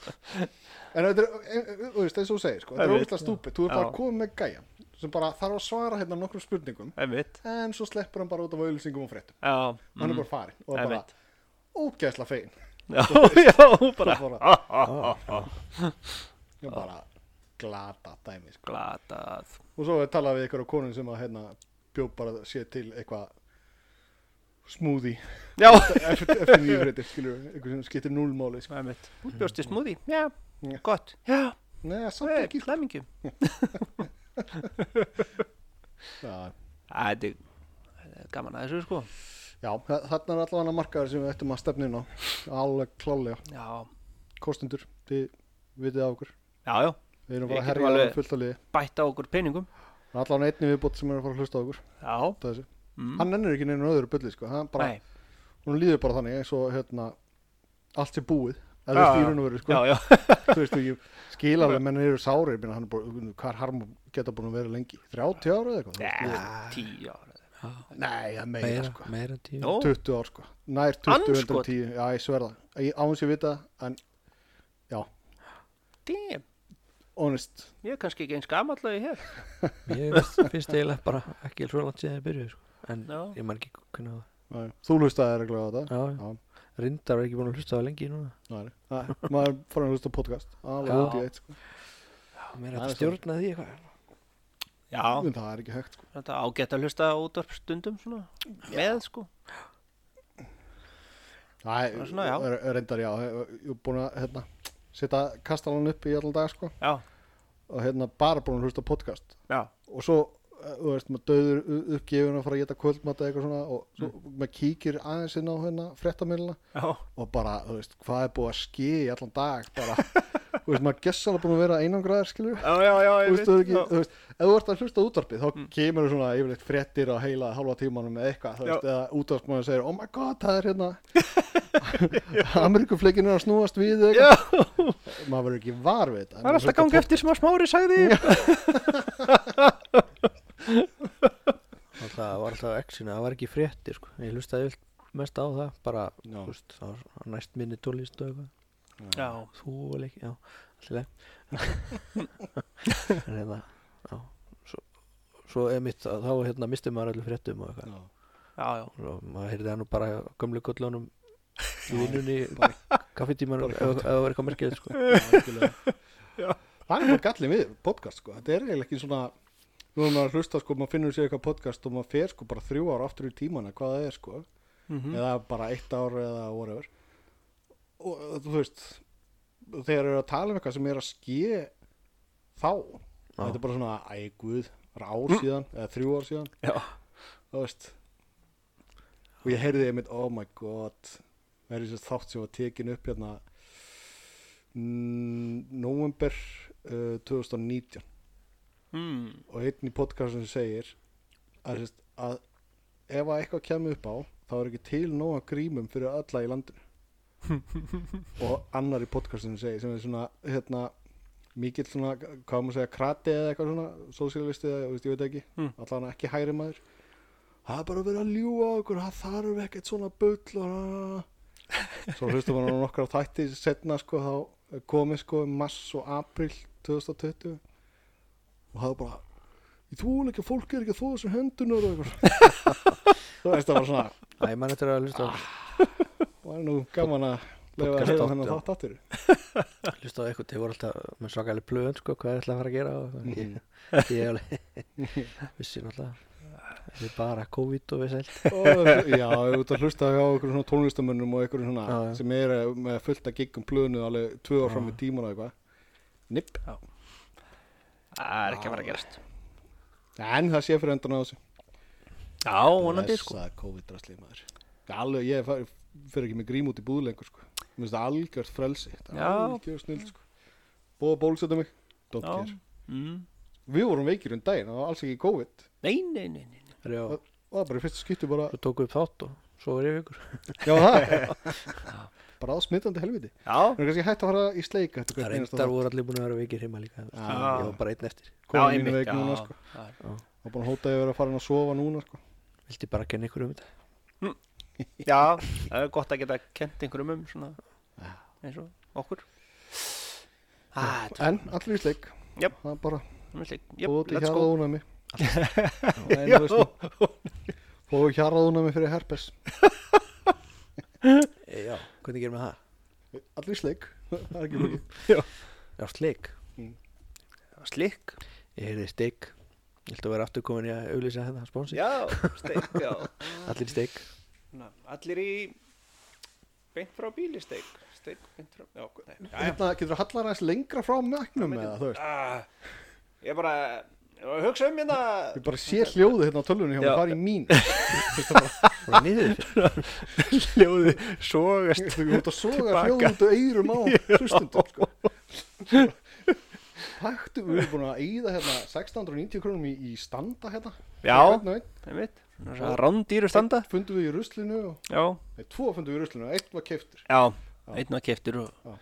Speaker 2: já.
Speaker 1: En þetta er, e- e- þú veist, eins og þú segir, sko, þetta
Speaker 2: Ég
Speaker 1: er
Speaker 2: veit,
Speaker 1: ógæslega stúpid, þú er bara
Speaker 2: Já.
Speaker 1: komið með gæja sem bara þarf að svara hérna nokkrum spurningum
Speaker 2: Einmitt,
Speaker 1: en svo sleppur hann bara út af auðlýsingum og fréttum
Speaker 2: já.
Speaker 1: hann
Speaker 2: Mm.
Speaker 1: er bara farinn og bara
Speaker 2: Einmitt.
Speaker 1: ógæslega fein
Speaker 2: Mm. Já, já, bara.
Speaker 1: Svo bara-
Speaker 2: Ah, ah, ah, ah.
Speaker 1: og bara glata dæmi sko.
Speaker 2: Glatað.
Speaker 1: og svo talaði við ykkur á konun sem að hérna, bjó bara sé til eitthvað smoothie
Speaker 2: Já,
Speaker 1: eftir, eftir nýfréttir, skilur við, eitthvað sem skiptir núlmáli sko.
Speaker 2: einmitt. Útbjósti smúði, já,
Speaker 1: Já.
Speaker 2: gott. Já,
Speaker 1: Nei,
Speaker 2: það
Speaker 1: samt
Speaker 2: er
Speaker 1: ekki
Speaker 2: ekki
Speaker 1: sko.
Speaker 2: hlæmingjum.
Speaker 1: Já,
Speaker 2: Það er þetta er gaman að þessu, sko.
Speaker 1: Já, þa- þarna er allavega markaður sem við ættum að stefna inn á alveg klálega,
Speaker 2: Já,
Speaker 1: kostendur þið vitið af okkur,
Speaker 2: já, já.
Speaker 1: við erum
Speaker 2: Við
Speaker 1: bara að
Speaker 2: getum
Speaker 1: herja alveg...
Speaker 2: alveg-
Speaker 1: fullt að liði,
Speaker 2: Bæta okkur peningum.
Speaker 1: Það er allavega einni viðbót sem er að fara að hlusta á okkur
Speaker 2: Já.
Speaker 1: út af þessu.
Speaker 2: Mm.
Speaker 1: hann ennur ekki neina öðru bulli sko. hann bara,
Speaker 2: Nei.
Speaker 1: hún líður bara þannig eins og hérna, allt sé búið
Speaker 2: Já,
Speaker 1: eða
Speaker 2: já.
Speaker 1: því hún verið sko,
Speaker 2: Já, já.
Speaker 1: þú veist ekki skil alveg menn eru sárir minna, hann er bara, hvað er harm geta búin að vera lengi 30 ára eða eitthvað þú veist,
Speaker 2: Já, tíu ára.
Speaker 1: nei, það er meira,
Speaker 3: Meira,
Speaker 1: sko
Speaker 3: meira en tíu
Speaker 2: Nó,
Speaker 1: 20 ár sko, nær 20,
Speaker 2: Andskot.
Speaker 1: 110 já, ég sverða, ég áins ég vita en, já,
Speaker 2: damn.
Speaker 1: honest
Speaker 2: Ég er kannski ekki eins gamall að ég hef.
Speaker 3: Ég finnst- finnst eiginlega bara ekki svo langt síðan ég byrjuði sko. En
Speaker 2: Já.
Speaker 3: ég man ekki hvernig
Speaker 1: Nei, Þú hlustaði reglulega á þetta
Speaker 3: það Já,
Speaker 1: Já.
Speaker 3: já. Rindar er ekki búin að hlusta á það lengi núna
Speaker 1: Nei, nei, maður er farin að hlusta á podcast alveg
Speaker 3: Já.
Speaker 1: út í eitt sko.
Speaker 3: Mér er
Speaker 1: Það er
Speaker 3: að stjórna því eitthvað
Speaker 2: Já.
Speaker 1: en það er ekki hægt sko.
Speaker 2: Mm. Þetta ágætt að hlusta á útvarp stundum svona. Með, sko.
Speaker 1: Nei,
Speaker 2: Það er svona, já.
Speaker 1: er, er reyndar já ég ég er búin að hérna, setja kastalan upp í allan dag sko,
Speaker 2: Já,
Speaker 1: og hérna bara búin að hlusta á podcast
Speaker 2: já.
Speaker 1: og svo eh, þú veist, maður döður u- uppgefin að fara að geta kvöldmata eitthvað svona og svo
Speaker 3: Mm.
Speaker 1: maður kíkir aðeins inn á hérna fréttamilina
Speaker 2: Já.
Speaker 1: og bara, þú veist, hvað er búið að ski í allan dag bara, þú veist, maður gessalega búin að vera einangraðar skilur
Speaker 2: Já, já, já,
Speaker 1: þú
Speaker 2: ég
Speaker 1: veist, þú er ekki,
Speaker 2: Já. Mm.
Speaker 1: þú veist, ef þú ert að hlusta á útvarpið þá kemur þú svona yfirleitt fréttir á heila halva tímanum eða eitthvað, þú
Speaker 2: Já.
Speaker 1: veist, eða útvarpmaður segir, oh my god, það er hérna Amerikufleikin er að snúast við eða
Speaker 2: Já,
Speaker 1: eitthvað, maður verður ekki var við þetta
Speaker 2: það er alltaf gangi eftir sem að smári sagði.
Speaker 3: Það var alltaf exinu, það var ekki fréttir sko. Ég hlustaði vilt mest á það Bara,
Speaker 1: Já.
Speaker 3: þú veist, það var svona næst minni tólist og eitthvað
Speaker 2: Já,
Speaker 3: Þú var ekki, já, allir En hérna, já Svo, svo er mitt, þá hérna misti maður allir fréttum og eitthvað
Speaker 1: Já.
Speaker 2: já, já.
Speaker 3: og maður heyrði hann nú bara hjá gömlu gollunum í vinnunni
Speaker 1: bara-
Speaker 3: kaffetímanum
Speaker 1: bara
Speaker 3: ef ef það var eitthvað merkilegt sko.
Speaker 1: Já, algjörlega. það er bara gallin við podcast, sko, þetta er eiginlega ekki svona nú er maður að hlusta, sko, maður finnur sér eitthvað podcast og maður fer, sko, bara þrjú ár aftur í tímana hvað það er, sko, eða bara eitt ár eða whatever og þú veist þegar eru að tala um eitthvað sem er að ske þá þetta er bara svona, æ, guð, það er ár síðan eða þrjú ár síðan,
Speaker 2: Já.
Speaker 1: þú veist og ég heyrði einmitt, oh my god það er þessi þátt sem var tekin upp hérna mm, november uh, 2019
Speaker 2: Mm.
Speaker 1: og einn í podcastum segir að, sérst, að ef að eitthvað kemur upp á þá er ekki til nóga grímum fyrir alla í landinu og annar í podcastum segir sem er svona hérna, mikill svona, hvað maður segja, krati eða eitthvað svona, sósíalisti eða, þú veist, ég veit ekki
Speaker 2: Mm.
Speaker 1: allan ekki hægri maður það er bara verið að ljúga á okkur, það þarf ekkert svona bull og svo hlustum við á nokkra þætti setna sko, þá komið sko mass og april 2020 og það var bara ég þvóla ekki að fólk er ekki að þvóða þessum hendunar og eitthvað þú veist það var svona
Speaker 3: Æ, mann eftir að hlusta á
Speaker 1: var nú gaman að lefa að
Speaker 3: Podcast
Speaker 1: heyra
Speaker 3: þátt,
Speaker 1: þennan
Speaker 3: já.
Speaker 1: þátt aftur
Speaker 3: hlusta á eitthvað, þeir voru alltaf með svakalega plöðun sko, hvað er alltaf að fara að gera og,
Speaker 1: Mhm.
Speaker 3: ég, ég alveg vissi náttúrulega Við bara COVID og við sælt
Speaker 1: og, já, út að hlusta á einhverjum svona tónlistamönnum og einhverjum svona
Speaker 3: Já, já.
Speaker 1: sem er eh, með fullt að giggum plönu alveg tvö ár fram í tíman og eitthvað nipp,
Speaker 2: Það er ekki að fara að gerast
Speaker 1: en það sé fyrir endan á þessu
Speaker 2: Já, vonandi sko
Speaker 1: Blessaða COVID-drastlið maður alveg, ég fer, fer ekki með grím út í búð lengur sko. mér finnst það algjört frelsi Þetta er
Speaker 2: Já.
Speaker 1: algjört snill sko. bóða bólusetta mig, don't
Speaker 2: Já.
Speaker 1: care
Speaker 2: mm.
Speaker 1: við vorum veikir um daginn, það var alls ekki COVID
Speaker 2: Nei, nei, nei, nei
Speaker 3: Já,
Speaker 1: og það bara í fyrsta skipti bara,
Speaker 3: svo tókum við upp þátt og svo var ég vikur
Speaker 1: já það bara á smittandi helviti
Speaker 2: Já,
Speaker 1: það er kannski hægt að fara í sleika eftir
Speaker 3: Það
Speaker 1: hvern einasta
Speaker 3: reyndar voru allir búin að vera vikir heima líka þú veist.
Speaker 1: Já.
Speaker 3: Ég var bara einn eftir
Speaker 1: Konan mín
Speaker 2: einmitt,
Speaker 1: veik núna, sko.
Speaker 2: já.
Speaker 1: og búin að hóta að ég verið að fara inn að sofa núna sko.
Speaker 3: Vildi bara kenna ykkur um þetta
Speaker 2: Já, það er gott að geta kent einhverjum um svona eins og okkur Ah, þetta
Speaker 1: en allir í sleik
Speaker 2: Jöp.
Speaker 1: það er bara
Speaker 2: er mjög slik
Speaker 1: yep,
Speaker 2: Jöp,
Speaker 1: búið til
Speaker 2: let's go
Speaker 1: hjarað ónæmi Það er eina lausnin. búið til hjarað ónæmi fyrir herpes
Speaker 3: E, Já, hvernig gerum við það?
Speaker 1: allir í sleik það er ekki mikið
Speaker 3: Já, sleik
Speaker 2: Slik
Speaker 3: Ég heyrði steik Ég held að vera aftur komin í að auglýsa þetta sponsi
Speaker 2: Já, steik, já
Speaker 3: Allir í steik
Speaker 2: Ná, Allir í beint frá bíli steik Steik beint frá Já, ok, nei já, já.
Speaker 1: hérna getur þú hallar aðeins lengra frá mæknum með það þú veist
Speaker 2: Ah, Ég bara Ég var að hugsa um hérna
Speaker 1: ég bara sé hljóði hérna á tölvunni hjá
Speaker 2: Já.
Speaker 1: mér fara í mín
Speaker 3: Bara niður fyrir
Speaker 2: Ljóði sógast
Speaker 1: þú ert að soga
Speaker 2: Tilbaka.
Speaker 1: hljóði út og eyrum á hlustundum sko Hættu, við erum búin að eyða hérna 690 krónum í, í standa hérna
Speaker 2: Já,
Speaker 1: Hvern og einn.
Speaker 2: það er mitt Rándýru standa
Speaker 1: Fundum við í ruslinu og
Speaker 2: Já,
Speaker 1: Nei, tvo fundum við í ruslinu, eitt var keiftur
Speaker 2: já Einn var keftur og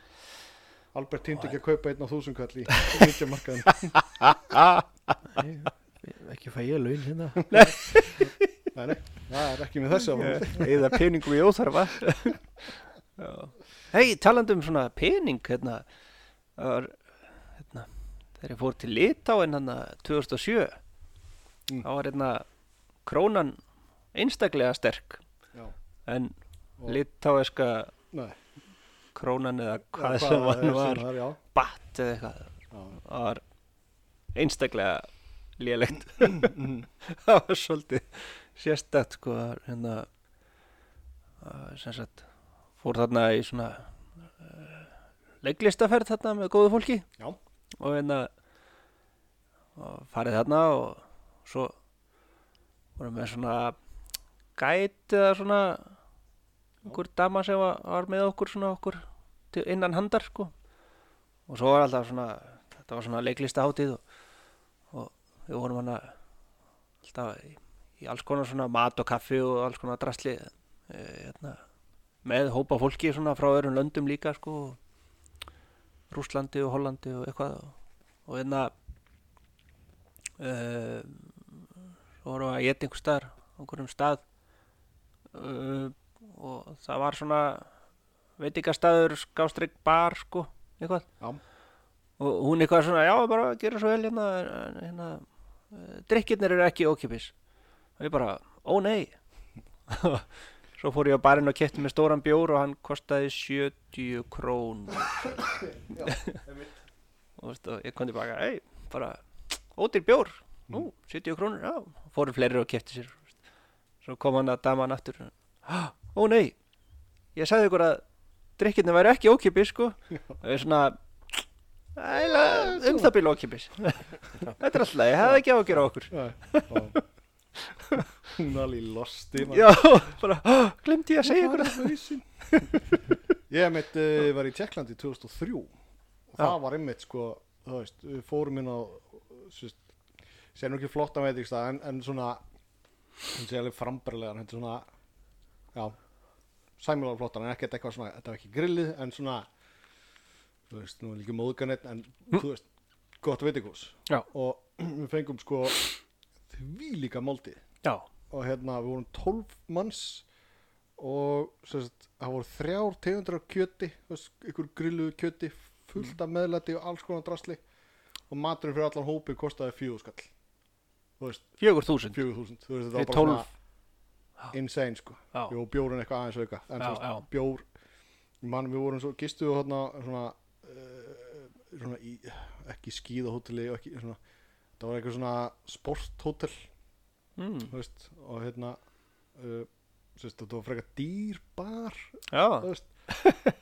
Speaker 1: Albert týndi ekki að kaupa einn á þúsund kall í Vindjamarkaðin
Speaker 3: Nei, Ekki fæ ég laun hérna
Speaker 1: Nei, nei, það er ekki með þessu að fara.
Speaker 2: eða peningum í óþarfa hei, talandum um svona pening hérna, það var, hérna þegar ég fór til Litáin hérna 2007
Speaker 1: Mm.
Speaker 2: þá var hérna krónan einstaklega sterk
Speaker 1: Já,
Speaker 2: en
Speaker 1: Og-
Speaker 2: litáeska
Speaker 1: nei
Speaker 2: krónan eða
Speaker 1: Já,
Speaker 2: hvað sem
Speaker 1: það
Speaker 2: hann
Speaker 1: er
Speaker 2: var
Speaker 1: sem það er, Já,
Speaker 2: batt eða eitthvað
Speaker 1: já,
Speaker 2: það var einstaklega lélegt það var svolítið sérstætt sko að, hérna að, sem sagt fór þarna í svona uh, leiklistaferð þarna með góðu fólki
Speaker 1: já,
Speaker 2: og hérna og farið þarna og svo vorum við svona gæt eða svona einhver dama sem var, var með okkur svona okkur til, innan handar sko og svo var alltaf svona þetta var svona leiklista og, og við vorum hana alltaf í, í alls konar svona mat og kaffi og alls konar drasli e, hérna, með hópa fólki svona frá öðrum löndum líka sko og Rússlandi og Hollandi og eitthvað og, og hérna, einna uh, svo vorum við að geta einhver staðar á einhverjum stað uh, og það var svona veitingastaður skástrygg bar sko eitthvað
Speaker 1: já,
Speaker 2: og hún eitthvað svona já bara gera svo vel hérna, en- hérna uh, drikkirnir eru ekki ókipis og ég bara ó nei svo fór ég á barinn og kefti með stóran bjór og hann kostaði 70 krón og, veist, og ég kom tilbaka ei, bara ódýr bjór nú, 70 krónur, já, fóru fleiri og kefti sér veist. svo kom hann að dama hann aftur "Ah, ó nei ég sagði ykkur að drikkirni væri ekki ókipis sko, það er svona æla, um það bíl ókipis þetta er alltaf, ég hefði ekki á að gera okkur
Speaker 1: já, já. Hún er alveg í losti maður.
Speaker 2: já, bara, "Ah, glemdi ég að segja ykkur
Speaker 1: Hvað er hausinn? Ég mitt uh, var í Tjekklandi 2003 og það var einmitt sko, þú veist, við fórum inn á sér nú ekki flott að veit ekki stað en, en svona hún sé alveg frambarlegan, þetta er svona já, sæmjölega flottan en ekkert eitthvað svona, þetta var ekki grillið en svona, þú veist, nú er líka móðganett en þú veist, gott veitingús
Speaker 2: Já.
Speaker 1: og við fengum sko því líka máltið
Speaker 2: já,
Speaker 1: og hérna við vorum 12 manns og sem sagt, það voru þrjár tegundur af kjöti þú veist, ykkur grilluðu kjöti fullt af meðlæti og alls konar drasli og maturinn fyrir allan hópin kostaði fjögur skall þú veist,
Speaker 2: 4000
Speaker 1: fjögur þúsund þú veist,
Speaker 2: Fyrir
Speaker 1: þetta var
Speaker 2: 12.
Speaker 1: bara svona insane sko
Speaker 2: Já.
Speaker 1: Jó, bjórinn eitthvað aðeins auka en
Speaker 2: Já,
Speaker 1: þú veist,
Speaker 2: já.
Speaker 1: bjór mann, við vorum svo, gistu við hérna svona, uh, svona í, ekki skíðahóteli og ekki svona, það var eitthvað svona sporthótel
Speaker 2: mm.
Speaker 1: þú veist, og hérna uh, þú veist, þetta var frekar dýr bar þú
Speaker 2: Já,
Speaker 1: veist,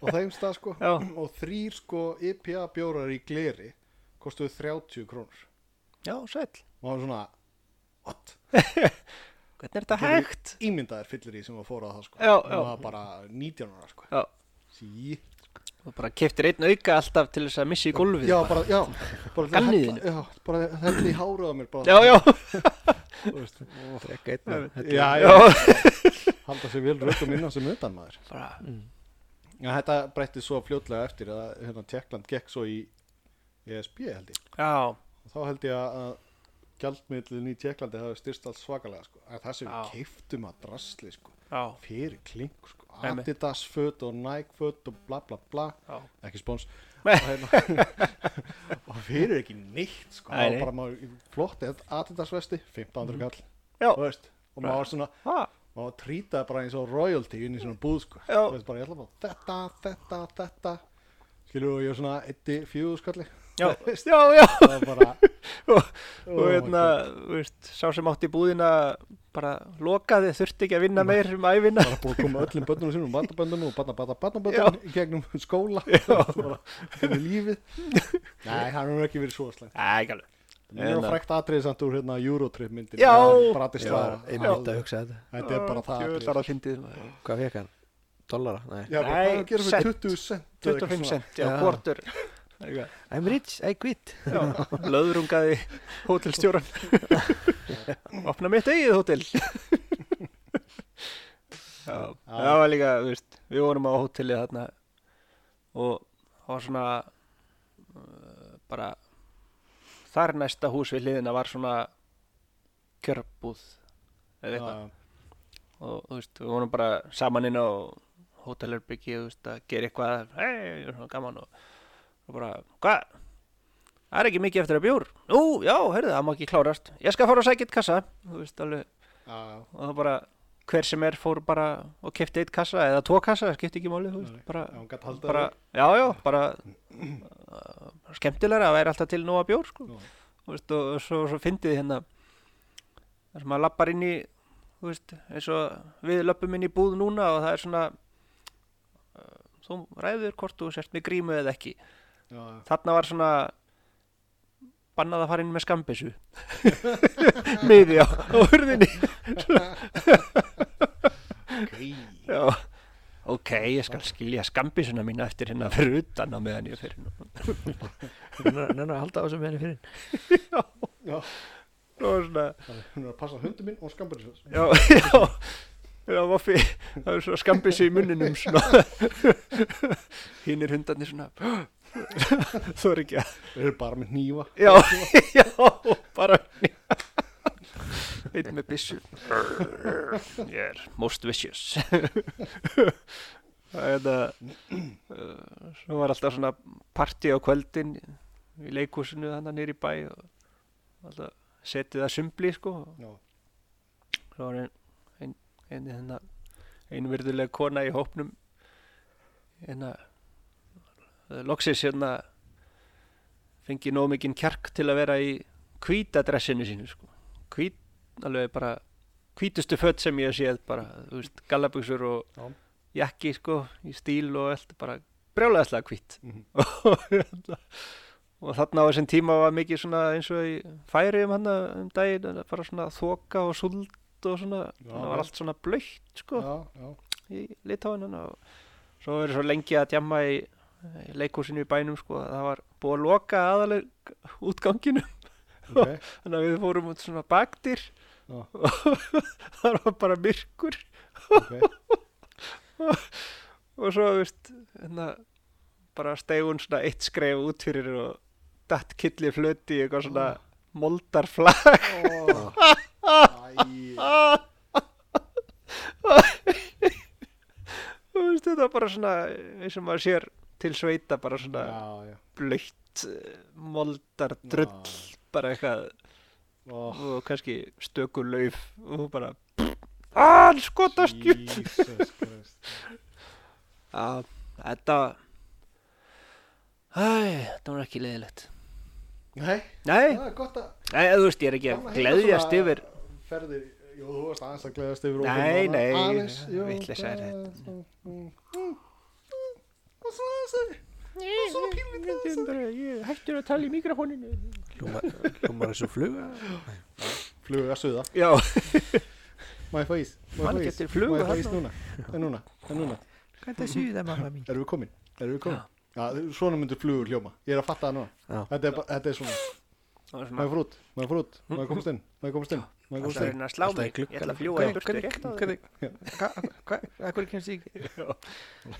Speaker 1: og þeim stað sko
Speaker 2: Já.
Speaker 1: og þrýr sko IPA bjórar í gleri kostuðu 30 krónur
Speaker 2: já, sæll
Speaker 1: og það var svona what?
Speaker 2: Hvernig er þetta
Speaker 1: Gerðu-
Speaker 2: hægt?
Speaker 1: ímyndaðir fyllir í sem var fórað það sko
Speaker 2: Já,
Speaker 1: Hún
Speaker 2: já.
Speaker 1: var bara 19 ára sko
Speaker 2: Já,
Speaker 1: sí.
Speaker 2: þú bara keftir einn auka alltaf til þess að missa í gólfið
Speaker 1: já, bara, já, bara til að
Speaker 2: Ganniðinu.
Speaker 1: hella- já, bara þetta í hárið á mér bara,
Speaker 2: já, já,
Speaker 1: þú veist,
Speaker 3: Drekka einn og- þetta-
Speaker 1: já, já,
Speaker 2: já.
Speaker 1: halda sér vel rökum innan sem utan maður
Speaker 2: Bara,
Speaker 1: Já, þetta breytti svo fljótlega eftir að hérna, Tjekkland gekk svo í ESB held ég.
Speaker 2: já,
Speaker 1: Og þá held ég að- að gjaldmiðlun í Tjekklandi hafi styrst allt svakalega sko. Að það sem við
Speaker 2: Já.
Speaker 1: keiftum að drasli sko.
Speaker 2: já,
Speaker 1: Fyrir klink sko.
Speaker 2: Nei, nei.
Speaker 1: Adidas föt og Nike föt og bla bla bla.
Speaker 2: já
Speaker 1: Ekki spóns.
Speaker 2: Nei.
Speaker 1: Og, hérna, og fyrir ekki neitt sko.
Speaker 2: Nei, nei. Mhm.
Speaker 1: Það var bara maður flott Adidas vesti, 1500 kall.
Speaker 2: Já.
Speaker 1: Þú veist. Og maður var
Speaker 2: hérna-
Speaker 1: svona,
Speaker 2: Ha,
Speaker 1: maður trýtaði bara eins og royalty inn í svona búð sko
Speaker 2: Já.
Speaker 1: Þú veist bara ég ætla að fá þetta, þetta, þetta skilur og ég er svona eitti fjú skalli
Speaker 2: Já, já, já
Speaker 1: það var bara
Speaker 2: og,
Speaker 1: Oh
Speaker 2: og
Speaker 1: my
Speaker 2: hérna, þú veist, sá sem átti búðina bara lokaði, þurfti ekki að vinna meir um æfina
Speaker 1: bara búið að koma öllum börnunum sínum og barnaböndunum og barna, barna, barnaböndunum í gegnum skóla bara gegnum lífið nei, hann hefur ekki verið svo slæmt
Speaker 2: Æ, ekki alveg
Speaker 1: það er
Speaker 2: En,
Speaker 1: nú frækt atriði samt úr hérna Eurotrip myndin
Speaker 2: Já.
Speaker 1: bara til
Speaker 3: Ég
Speaker 1: slaga
Speaker 3: var einmitt að hugsa þetta
Speaker 1: þetta er bara það
Speaker 2: Djöfull var
Speaker 1: atriði
Speaker 2: það fyndið maður.
Speaker 3: Hvað fekk hann? Dollara? Nei
Speaker 1: já, bara
Speaker 2: Nei,
Speaker 1: hvað gerum
Speaker 2: cent.
Speaker 1: við 20 cent eða eitthvað
Speaker 2: 25
Speaker 1: svona?
Speaker 2: cent, já,
Speaker 3: Já.
Speaker 2: kvortur
Speaker 3: I'm rich, I quit
Speaker 2: Löðrungaði hótelstjóran Opna mitt eigið hótel Já, það var líka, þú veist, við vorum á hóteli þarna og það var svona uh, bara þar næsta hús við hliðina var svona kjörbúð eða eitthvað
Speaker 1: Já,
Speaker 2: og þú veist, við vorum bara saman inn á hótelherbyggi, þú veist, að gera eitthvað hei, svona gaman og, og bara, hvað? Það er ekki mikið eftir að bjór Nú, já, heyrðu, það má ekki klárast Ég skal fara að sækja eitt kassa Þú veist, alveg,
Speaker 1: já, já.
Speaker 2: og það bara hver sem er fór bara og kefti eitt kassa eða tvo kassa, það skipti ekki máli, þú veist,
Speaker 1: Nei,
Speaker 2: bara
Speaker 1: Já, hún gat haldið
Speaker 2: bara, já, já, bara uh, skemmtilega að væri alltaf til nóga bjór sko.
Speaker 1: Já.
Speaker 2: Þú veist, og og svo, svo fyndið hérna þar sem maður lappar inn í þú veist, eins og við löppum inn í búð núna og það er svona uh, þú ræður hvort þú sért með grímu eða ekki
Speaker 1: já, já.
Speaker 2: þarna var svona bannað að fara inn með skambissu miði á, á hurðinni
Speaker 1: ok
Speaker 2: já. ok, ég skal skilja skambissuna mína eftir hérna fyrir utan á meðan ég fyrir nú
Speaker 3: Nennar að halda á þessum henni fyrir
Speaker 1: Já,
Speaker 2: það var svona
Speaker 1: það er- hún er að passa hundum minn og skambur þessu
Speaker 2: já, já Já, Voffi, það er svona skambið sér í munninum svona. Hinn er hundarnir svona Þú er ekki að
Speaker 1: Þeir eru bara með nýfa
Speaker 2: Já, já, bara Einn með byssu Ég er most vicious Það er þetta uh, Svo var alltaf svona party á kvöldin í leikhúsinu þannig nýri bæ og alltaf setið að sumbli sko og
Speaker 1: Já,
Speaker 2: svo var ein, ein, ein, hérna, einvirðulega kona í hópnum hérna eh, loksins hérna fengi nóg mikinn kjark til að vera í hvítadressinu sínu sko. hvít, alveg bara hvítustu fött sem ég hef séð bara, þú veist, gallabuxur og
Speaker 1: Já.
Speaker 2: jakki sko, í stíl og allt bara brjálæðislega hvít
Speaker 1: Mhm.
Speaker 2: og, hérna, og þarna á þessum tíma var mikið svona eins og í færiðum hann um daginn, hérna, bara svona þoka og suld og svona,
Speaker 1: Já,
Speaker 2: það var
Speaker 1: já.
Speaker 2: allt svona blöytt sko
Speaker 1: já, já
Speaker 2: í litáinun og svo verið svo lengi að djamma í, í leikhúsinu í bænum sko að það var búið að loka aðaleg útganginu
Speaker 1: ok.
Speaker 2: þannig að við fórum út svona baktir
Speaker 1: Já.
Speaker 2: og það var bara myrkur
Speaker 1: ok
Speaker 2: og svo veist hérna, bara stegun svona eitt skref út fyrir og datt killi flöti í eitthvað
Speaker 1: Ah.
Speaker 2: svona moldarflag
Speaker 1: Ó, æ,
Speaker 2: og veist þetta var bara svona eins og maður sér til sveita bara svona
Speaker 1: Já, já
Speaker 2: blöytt moldar drull bara eitthvað
Speaker 1: Ó,
Speaker 2: og kannski stöku lauf og þú bara aaa, hann skotast jú
Speaker 1: Jesus Christ
Speaker 2: Já, þetta Æ, þetta var ekki leiðilegt
Speaker 1: Nei,
Speaker 2: Nei,
Speaker 1: það er gott að
Speaker 2: nei, þú veist, ég er ekki að
Speaker 1: gaman að heyra
Speaker 2: gleðjast
Speaker 1: hérna svona
Speaker 2: yfir
Speaker 1: ferðir Jú, þú varst aðeins að gleðast yfir ópening
Speaker 2: Nei,
Speaker 1: núna.
Speaker 2: nei,
Speaker 1: aðeins, jú,
Speaker 2: vitleysa er
Speaker 1: gleðast, mm, mm, mm, Og svo aðeins að- og svo pínlítið aðeins að-
Speaker 2: Ég hættur að tala í mikrofóninu
Speaker 3: Ljómar þessu fluga
Speaker 1: Flugu að suða
Speaker 2: Já,
Speaker 1: Má ég fá ís? Má
Speaker 2: Hann
Speaker 1: ég fá ís?
Speaker 2: getur flugu
Speaker 1: Má ég fá
Speaker 2: þarna.
Speaker 1: ís núna? En núna? En núna?
Speaker 3: Hvað er þessu það mamma mín?
Speaker 1: Erum við komin? Erum við komin? Já, svona myndur flugur hljóma Ég er að fatta það
Speaker 3: Já.
Speaker 1: núna Þetta er, bara- þetta er svona
Speaker 2: það var
Speaker 1: Má
Speaker 2: svona
Speaker 1: ég fór út? Má ég fór út? Má ég komast inn? Má ég komast inn? Má ég
Speaker 2: Hm? Það
Speaker 1: komast
Speaker 2: er
Speaker 1: inn?
Speaker 2: hérna að slá mig, ég ætla að fljúa í burtu rétt á þér
Speaker 3: Hvernig, hvernig, hvernig kemst ég ekki?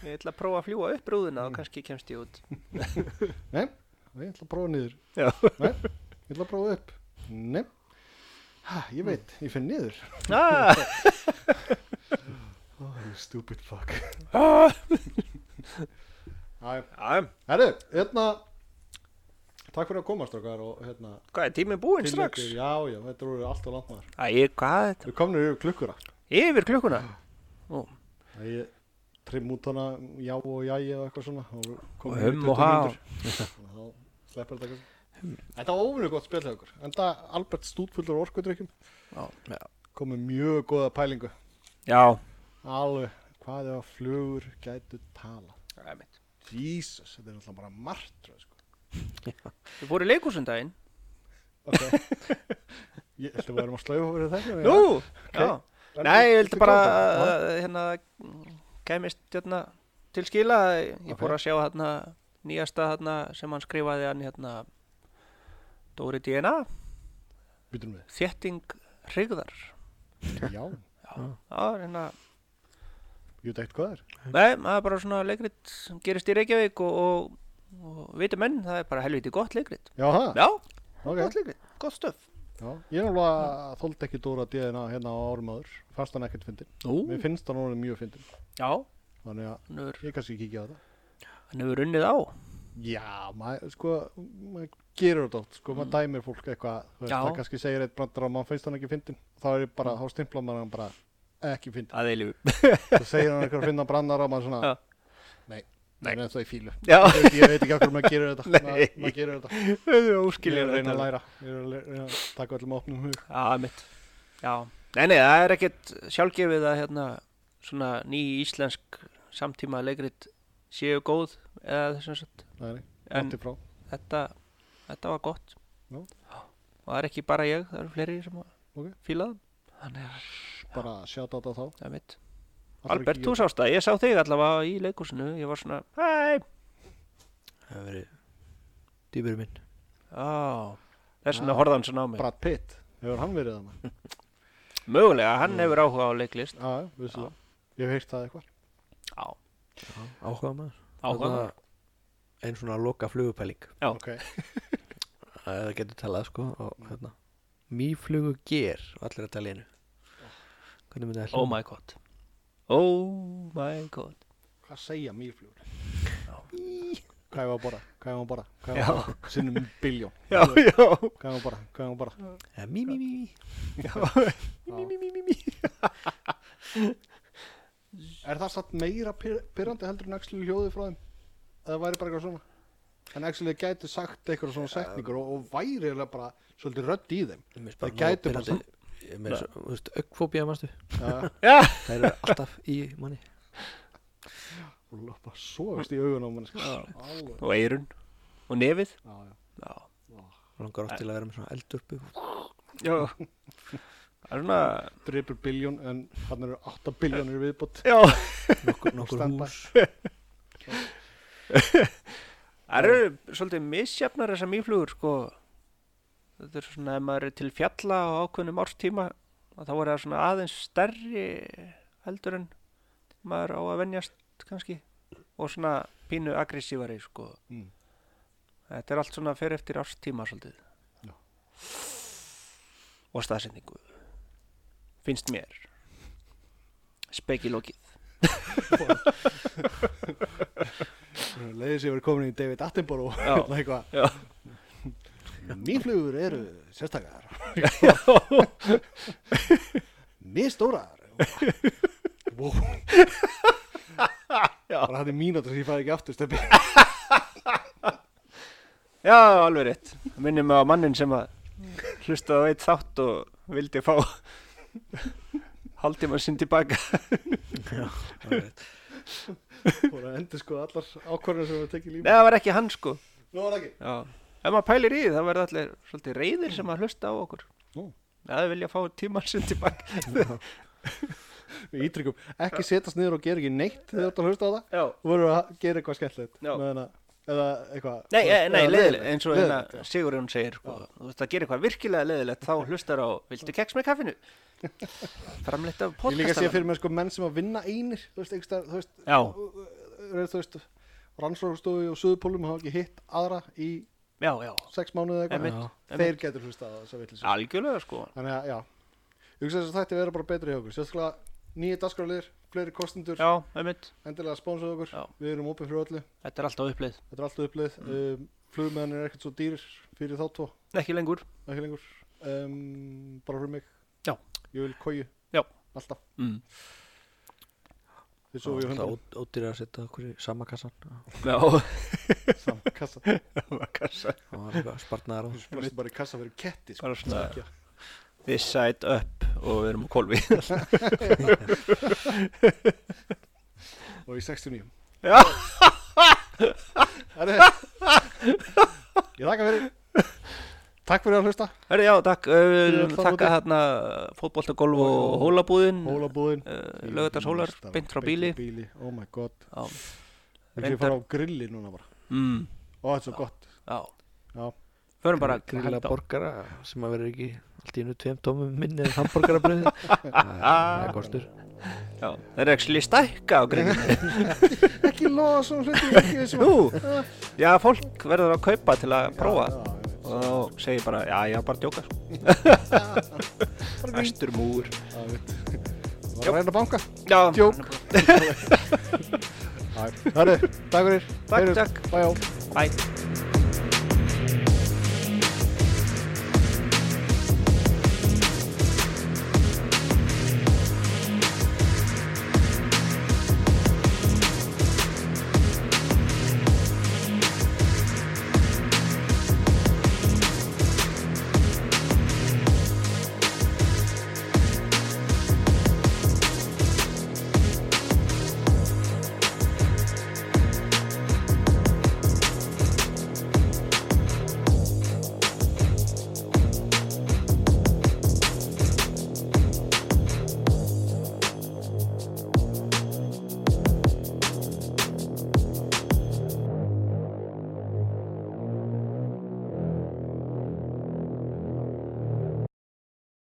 Speaker 2: Ég ætla að prófa að fljúa upp rúðuna og kannski kemst ég út
Speaker 1: Nei, ég ætla að prófa niður
Speaker 2: Já.
Speaker 1: Nei, ég ætla að prófa upp Nei ha, Ég veit,
Speaker 2: Hm.
Speaker 1: ég finn niður
Speaker 2: ah,
Speaker 1: Oh, you stupid fuck
Speaker 2: ah.
Speaker 1: Æ,
Speaker 2: Já,
Speaker 1: Herru, hérna Takk fyrir að koma strókar og hérna
Speaker 2: Hvað er tíminn búinn
Speaker 1: til
Speaker 2: strax?
Speaker 1: ykkur- Já, já, þetta eru allt og langt maður
Speaker 2: Æ, hvað er þetta?
Speaker 1: Við komnir yfir klukkura
Speaker 2: Yfir klukkuna
Speaker 1: Það ég trimm út hana já og jæja og eitthvað svona og
Speaker 2: Og
Speaker 1: komum yfir
Speaker 2: hum og
Speaker 1: 20
Speaker 2: há
Speaker 1: mínútur. og þá sleppur þetta kannski Þetta var óvinni gott spil hjá okkur Enda Albert stútfullur orkudrykkjum
Speaker 3: Já,
Speaker 1: komið mjög góða pælingu
Speaker 2: Já,
Speaker 1: Alveg, hvað ef að flugur gætu tala
Speaker 2: það er mitt
Speaker 1: Jesus, þetta er alltaf bara martröð sko.
Speaker 2: Þú fóru í um leikhúsundaginn?
Speaker 1: Ok Ég ætla að vera að slaufa fyrir þetta
Speaker 2: Nú, já
Speaker 1: já.
Speaker 2: Nei, ég vildi
Speaker 1: Ertu
Speaker 2: bara
Speaker 1: góður? Já.
Speaker 2: uh, hérna mm, kæmist hérna til skila ég
Speaker 1: Ok.
Speaker 2: fór að sjá hérna nýjasta hérna sem hann skrifaði hann hérna Dóri DNA
Speaker 1: Býtum við
Speaker 2: Þétting Hrigðar
Speaker 1: Já,
Speaker 2: Já, hérna
Speaker 1: ég veit ekkert hvað það er
Speaker 2: Nei, það er bara svona leikrit sem gerist í Reykjavík og, og, og viti menn, það er bara helviti gott leikrit
Speaker 1: Já, það,
Speaker 2: Já,
Speaker 1: ok
Speaker 2: gott leikrit, gott stöf
Speaker 1: Já, ég er alveg þóldi ekki Dóra DNA hérna á árum áður, fannst hann ekkert fyndin.
Speaker 2: Nú,
Speaker 1: Mér finnst hann orðin mjög fyndin,
Speaker 2: já,
Speaker 1: þannig að
Speaker 2: hann hefur-
Speaker 1: ég kannski kíkja á það.
Speaker 2: hann hefur runnið á
Speaker 1: Já, maður, sko, maður gerur þetta oft, sko, maður dæmir fólk eitthvað, þú veist,
Speaker 2: Mm. Já. Mm.
Speaker 1: það kannski segir eitt brandar að maður finnst hann ekki fyndin, þá er ég bara, þá stimplar maður hann bara ekki fyndin.
Speaker 2: Það er lífu
Speaker 1: Þú segir hann eitthvað að finna brandar og maður svona,
Speaker 2: Já.
Speaker 1: nei, nei, en það er fílu.
Speaker 2: Já,
Speaker 1: Ég veit, ég veit ekki okkur maður gerur þetta,
Speaker 2: Nei.
Speaker 1: maður, maður gerur
Speaker 2: það
Speaker 1: þetta.
Speaker 2: er hérna.
Speaker 1: Ég er
Speaker 2: óskilja
Speaker 1: að reyna að læra, ég er að le- reyna að taka öllum opnum hug.
Speaker 2: Já, mitt. Já. Nei, nei, það er ekkert sjálfgefið að hérna svona ný íslensk samtíma leikrit séu góð eða þessum sett.
Speaker 1: Nei, nei,
Speaker 2: En
Speaker 1: langt í frá.
Speaker 2: þetta, þetta var gott.
Speaker 1: Já.
Speaker 2: Og það er ekki bara ég, það eru fleiri sem okay.
Speaker 1: Ok.
Speaker 2: fílaðum. Þannig að
Speaker 1: Bara sjáta þetta þá.
Speaker 2: það er mitt.
Speaker 1: Allir
Speaker 2: Albert,
Speaker 1: ekki-
Speaker 2: þú sást það, ég sá þig allavega í leikúsinu, ég var svona, hei,
Speaker 3: það hefur verið dýbur minn
Speaker 2: já, þess
Speaker 1: Já.
Speaker 2: vegna horfði hann svona á mig.
Speaker 1: Brad Pitt, hefur hann verið
Speaker 2: Mm.
Speaker 1: þannig?
Speaker 2: Mögulega, hann hefur áhuga á leiklist.
Speaker 1: Já, já, vissu það. Ég hef heyrt það eitthvað.
Speaker 2: Já,
Speaker 3: Áhuga maður
Speaker 2: áhuga.
Speaker 3: Þarna Ein svona loka flugupæling
Speaker 2: Já.
Speaker 1: Ok,
Speaker 3: Æ, Það getur talað sko og hérna Mýflugu ger og allir að tala í einu Hvernig myndi það
Speaker 2: Oh my god. Oh my god.
Speaker 1: hvað segja mýrflugur?
Speaker 3: Í.
Speaker 1: Hvað hefur að borða? Hvað hefur að borða? Hvað hefur að borða? Sinnum biljón.
Speaker 2: Já, já.
Speaker 1: Hvað hefur að borða? Hvað hefur að borða?
Speaker 3: Ja, mí, mí, mí, mí
Speaker 1: Já.
Speaker 2: mí, mí, mí.
Speaker 1: Er það satt meira pyr- pirrandi heldur en Axel hljóði frá þeim? Eða væri bara eitthvað svona? En Axel gæti sagt eitthvað svona setningur og, og væri eiginlega bara svolítið rödd í þeim.
Speaker 3: Mér finnst
Speaker 1: Það gæti bara
Speaker 3: pirrandi- Ég meina svo, þú veist, augfóbía mannstu
Speaker 1: Já,
Speaker 2: Já,
Speaker 3: Það eru alltaf í manni
Speaker 1: og loppa svoðast í augun á manni. sko. Alveg.
Speaker 2: og eirun og nefið.
Speaker 1: Já, já.
Speaker 2: Já,
Speaker 3: Langar oft til að vera með svona eldurpu
Speaker 2: já. Það er svona,
Speaker 1: Dripur biljón en hann eru 8 biljónir viðbútt.
Speaker 2: já.
Speaker 3: Nokkur, nokkur
Speaker 1: Standby.
Speaker 3: hús
Speaker 2: Það eru svolítið misjafnar þessar mýflugur, sko. Þetta er svona, ef maður er til fjalla á ákveðnum árstíma, að þá er það svona aðeins stærri heldur en maður á að venjast kannski og svona pínu aggressívari, sko.
Speaker 1: Mm.
Speaker 2: Þetta er allt svona fyrir eftir árstíma svolítið.
Speaker 1: Já.
Speaker 2: Og staðsendingu. Finnst mér. Spekilókið.
Speaker 1: Leiðis ég verið komin í David Attenborough
Speaker 2: Já.
Speaker 1: eða eitthvað.
Speaker 2: Já.
Speaker 1: Mýflugur eru sérstakar Mistórar Wow
Speaker 2: Já.
Speaker 1: Bara þetta er mínútur sem ég fæði ekki aftur steppi
Speaker 2: Já, alveg rétt. Minnum mig á mannin sem að hlustaði á eitt þátt og vildi fá Haldið maður sinn tilbaka
Speaker 1: voru að endur sko allar ákvarðinu sem við tekið
Speaker 2: Nei,
Speaker 1: lífið
Speaker 2: það var ekki hann sko
Speaker 1: Nú var það ekki
Speaker 2: Já. Ef maður pælir í því, það verða allir svolítið reyðir sem að hlusta á okkur
Speaker 1: Nú.
Speaker 2: Já, þau vilja fá tímann sinn tilbaka
Speaker 1: Við ítryggum, ekki setast niður og gera ekki neitt þegar þú ert að hlusta á það
Speaker 2: Já
Speaker 1: Þú verður að gera eitthvað skemmtilegt
Speaker 2: Já.
Speaker 1: meðan að- eða eitthvað
Speaker 2: Nei, e, nei
Speaker 1: eða
Speaker 2: leiðilegt, eins og hérna
Speaker 1: leiðilegt, já.
Speaker 2: Sigurinn segir sko, þú veist að gera eitthvað virkilega leiðilegt þá hlustar á, viltu keks með kaffinu? Framleitt af
Speaker 1: Ég líka sé
Speaker 2: podcastanum
Speaker 1: fyrir mér sko menn sem að vinna einir þú veist, einhvers staðar, þú veist,
Speaker 2: Já,
Speaker 1: eru, þú veist rannsókstofu og suðupólum hafa ekki hitt aðra í
Speaker 2: já, já,
Speaker 1: sex mánuði eða
Speaker 2: Einmitt,
Speaker 1: eitthvað
Speaker 2: einmitt.
Speaker 1: Þeir getur hlusta á þess að vitlis
Speaker 2: algjörlega sko
Speaker 1: Þannig að, já Ég hugsa þess að þetta vera bara betri hjá okkur Sérstaklega nýja dagskráliðir, fleiri kostendur
Speaker 2: Já, einmitt,
Speaker 1: endilega spónsuð okkur
Speaker 2: Já. Mm.
Speaker 1: Við erum opið fyrir öllu
Speaker 2: þetta er alltaf upplið
Speaker 1: Þetta er alltaf upplið um, Flugmeðan er ekkert svo dýrir fyrir þá tvo
Speaker 2: Ekki lengur
Speaker 1: ekki lengur um, bara fyrir mig
Speaker 2: Já.
Speaker 1: ég vil kóju
Speaker 2: Já.
Speaker 1: alltaf
Speaker 2: mm.
Speaker 1: þið svo ég hundar
Speaker 3: Það ódýra að setja okkur í sama kassan Já,
Speaker 2: Já,
Speaker 1: saman kassa
Speaker 2: það var kassa
Speaker 3: Það var eitthvað spartnaðar á þessu
Speaker 1: þú veist bara í kassa fyrir ketti sko.
Speaker 2: Bara svona
Speaker 1: Sækja.
Speaker 2: This side up og við erum á kolvi
Speaker 1: og í 69
Speaker 2: Já.
Speaker 1: Herri, ég þakka fyrir takk fyrir að hlusta
Speaker 2: Herri, já, takk uh,
Speaker 1: Fyrir allan
Speaker 2: Takka
Speaker 1: úti.
Speaker 2: þarna fótboltagolf
Speaker 1: Og-
Speaker 2: og
Speaker 1: og-
Speaker 2: hólabúðin
Speaker 1: hólabúðin
Speaker 2: uh, Lögðars Mm. hólar, beint frá bíli
Speaker 1: bíli oh my god
Speaker 2: Já,
Speaker 1: við fyrir að fara á grilli núna bara
Speaker 2: mm,
Speaker 1: og þetta er svo gott
Speaker 2: já
Speaker 1: já
Speaker 2: Förum bara að
Speaker 3: Grilla
Speaker 2: henda á.
Speaker 3: borgara sem að vera ekki allt í einu tveim tómum minni en hambúrgarabröð Það er kostur
Speaker 2: Já, það er ekki stækka á grillinu.
Speaker 1: ekki loða svona hluti ekki þessum
Speaker 2: Nú, já, fólk verður að kaupa til að prófa
Speaker 1: Já, já, já.
Speaker 2: og þá segir bara, já, já, bara að djóka sko. Vestur múr
Speaker 1: Já, veit. Var að reyna að banka
Speaker 2: Já,
Speaker 1: Djók. Herri, takk fyrir
Speaker 2: Takk, takk.
Speaker 1: Bæjó
Speaker 2: Bye.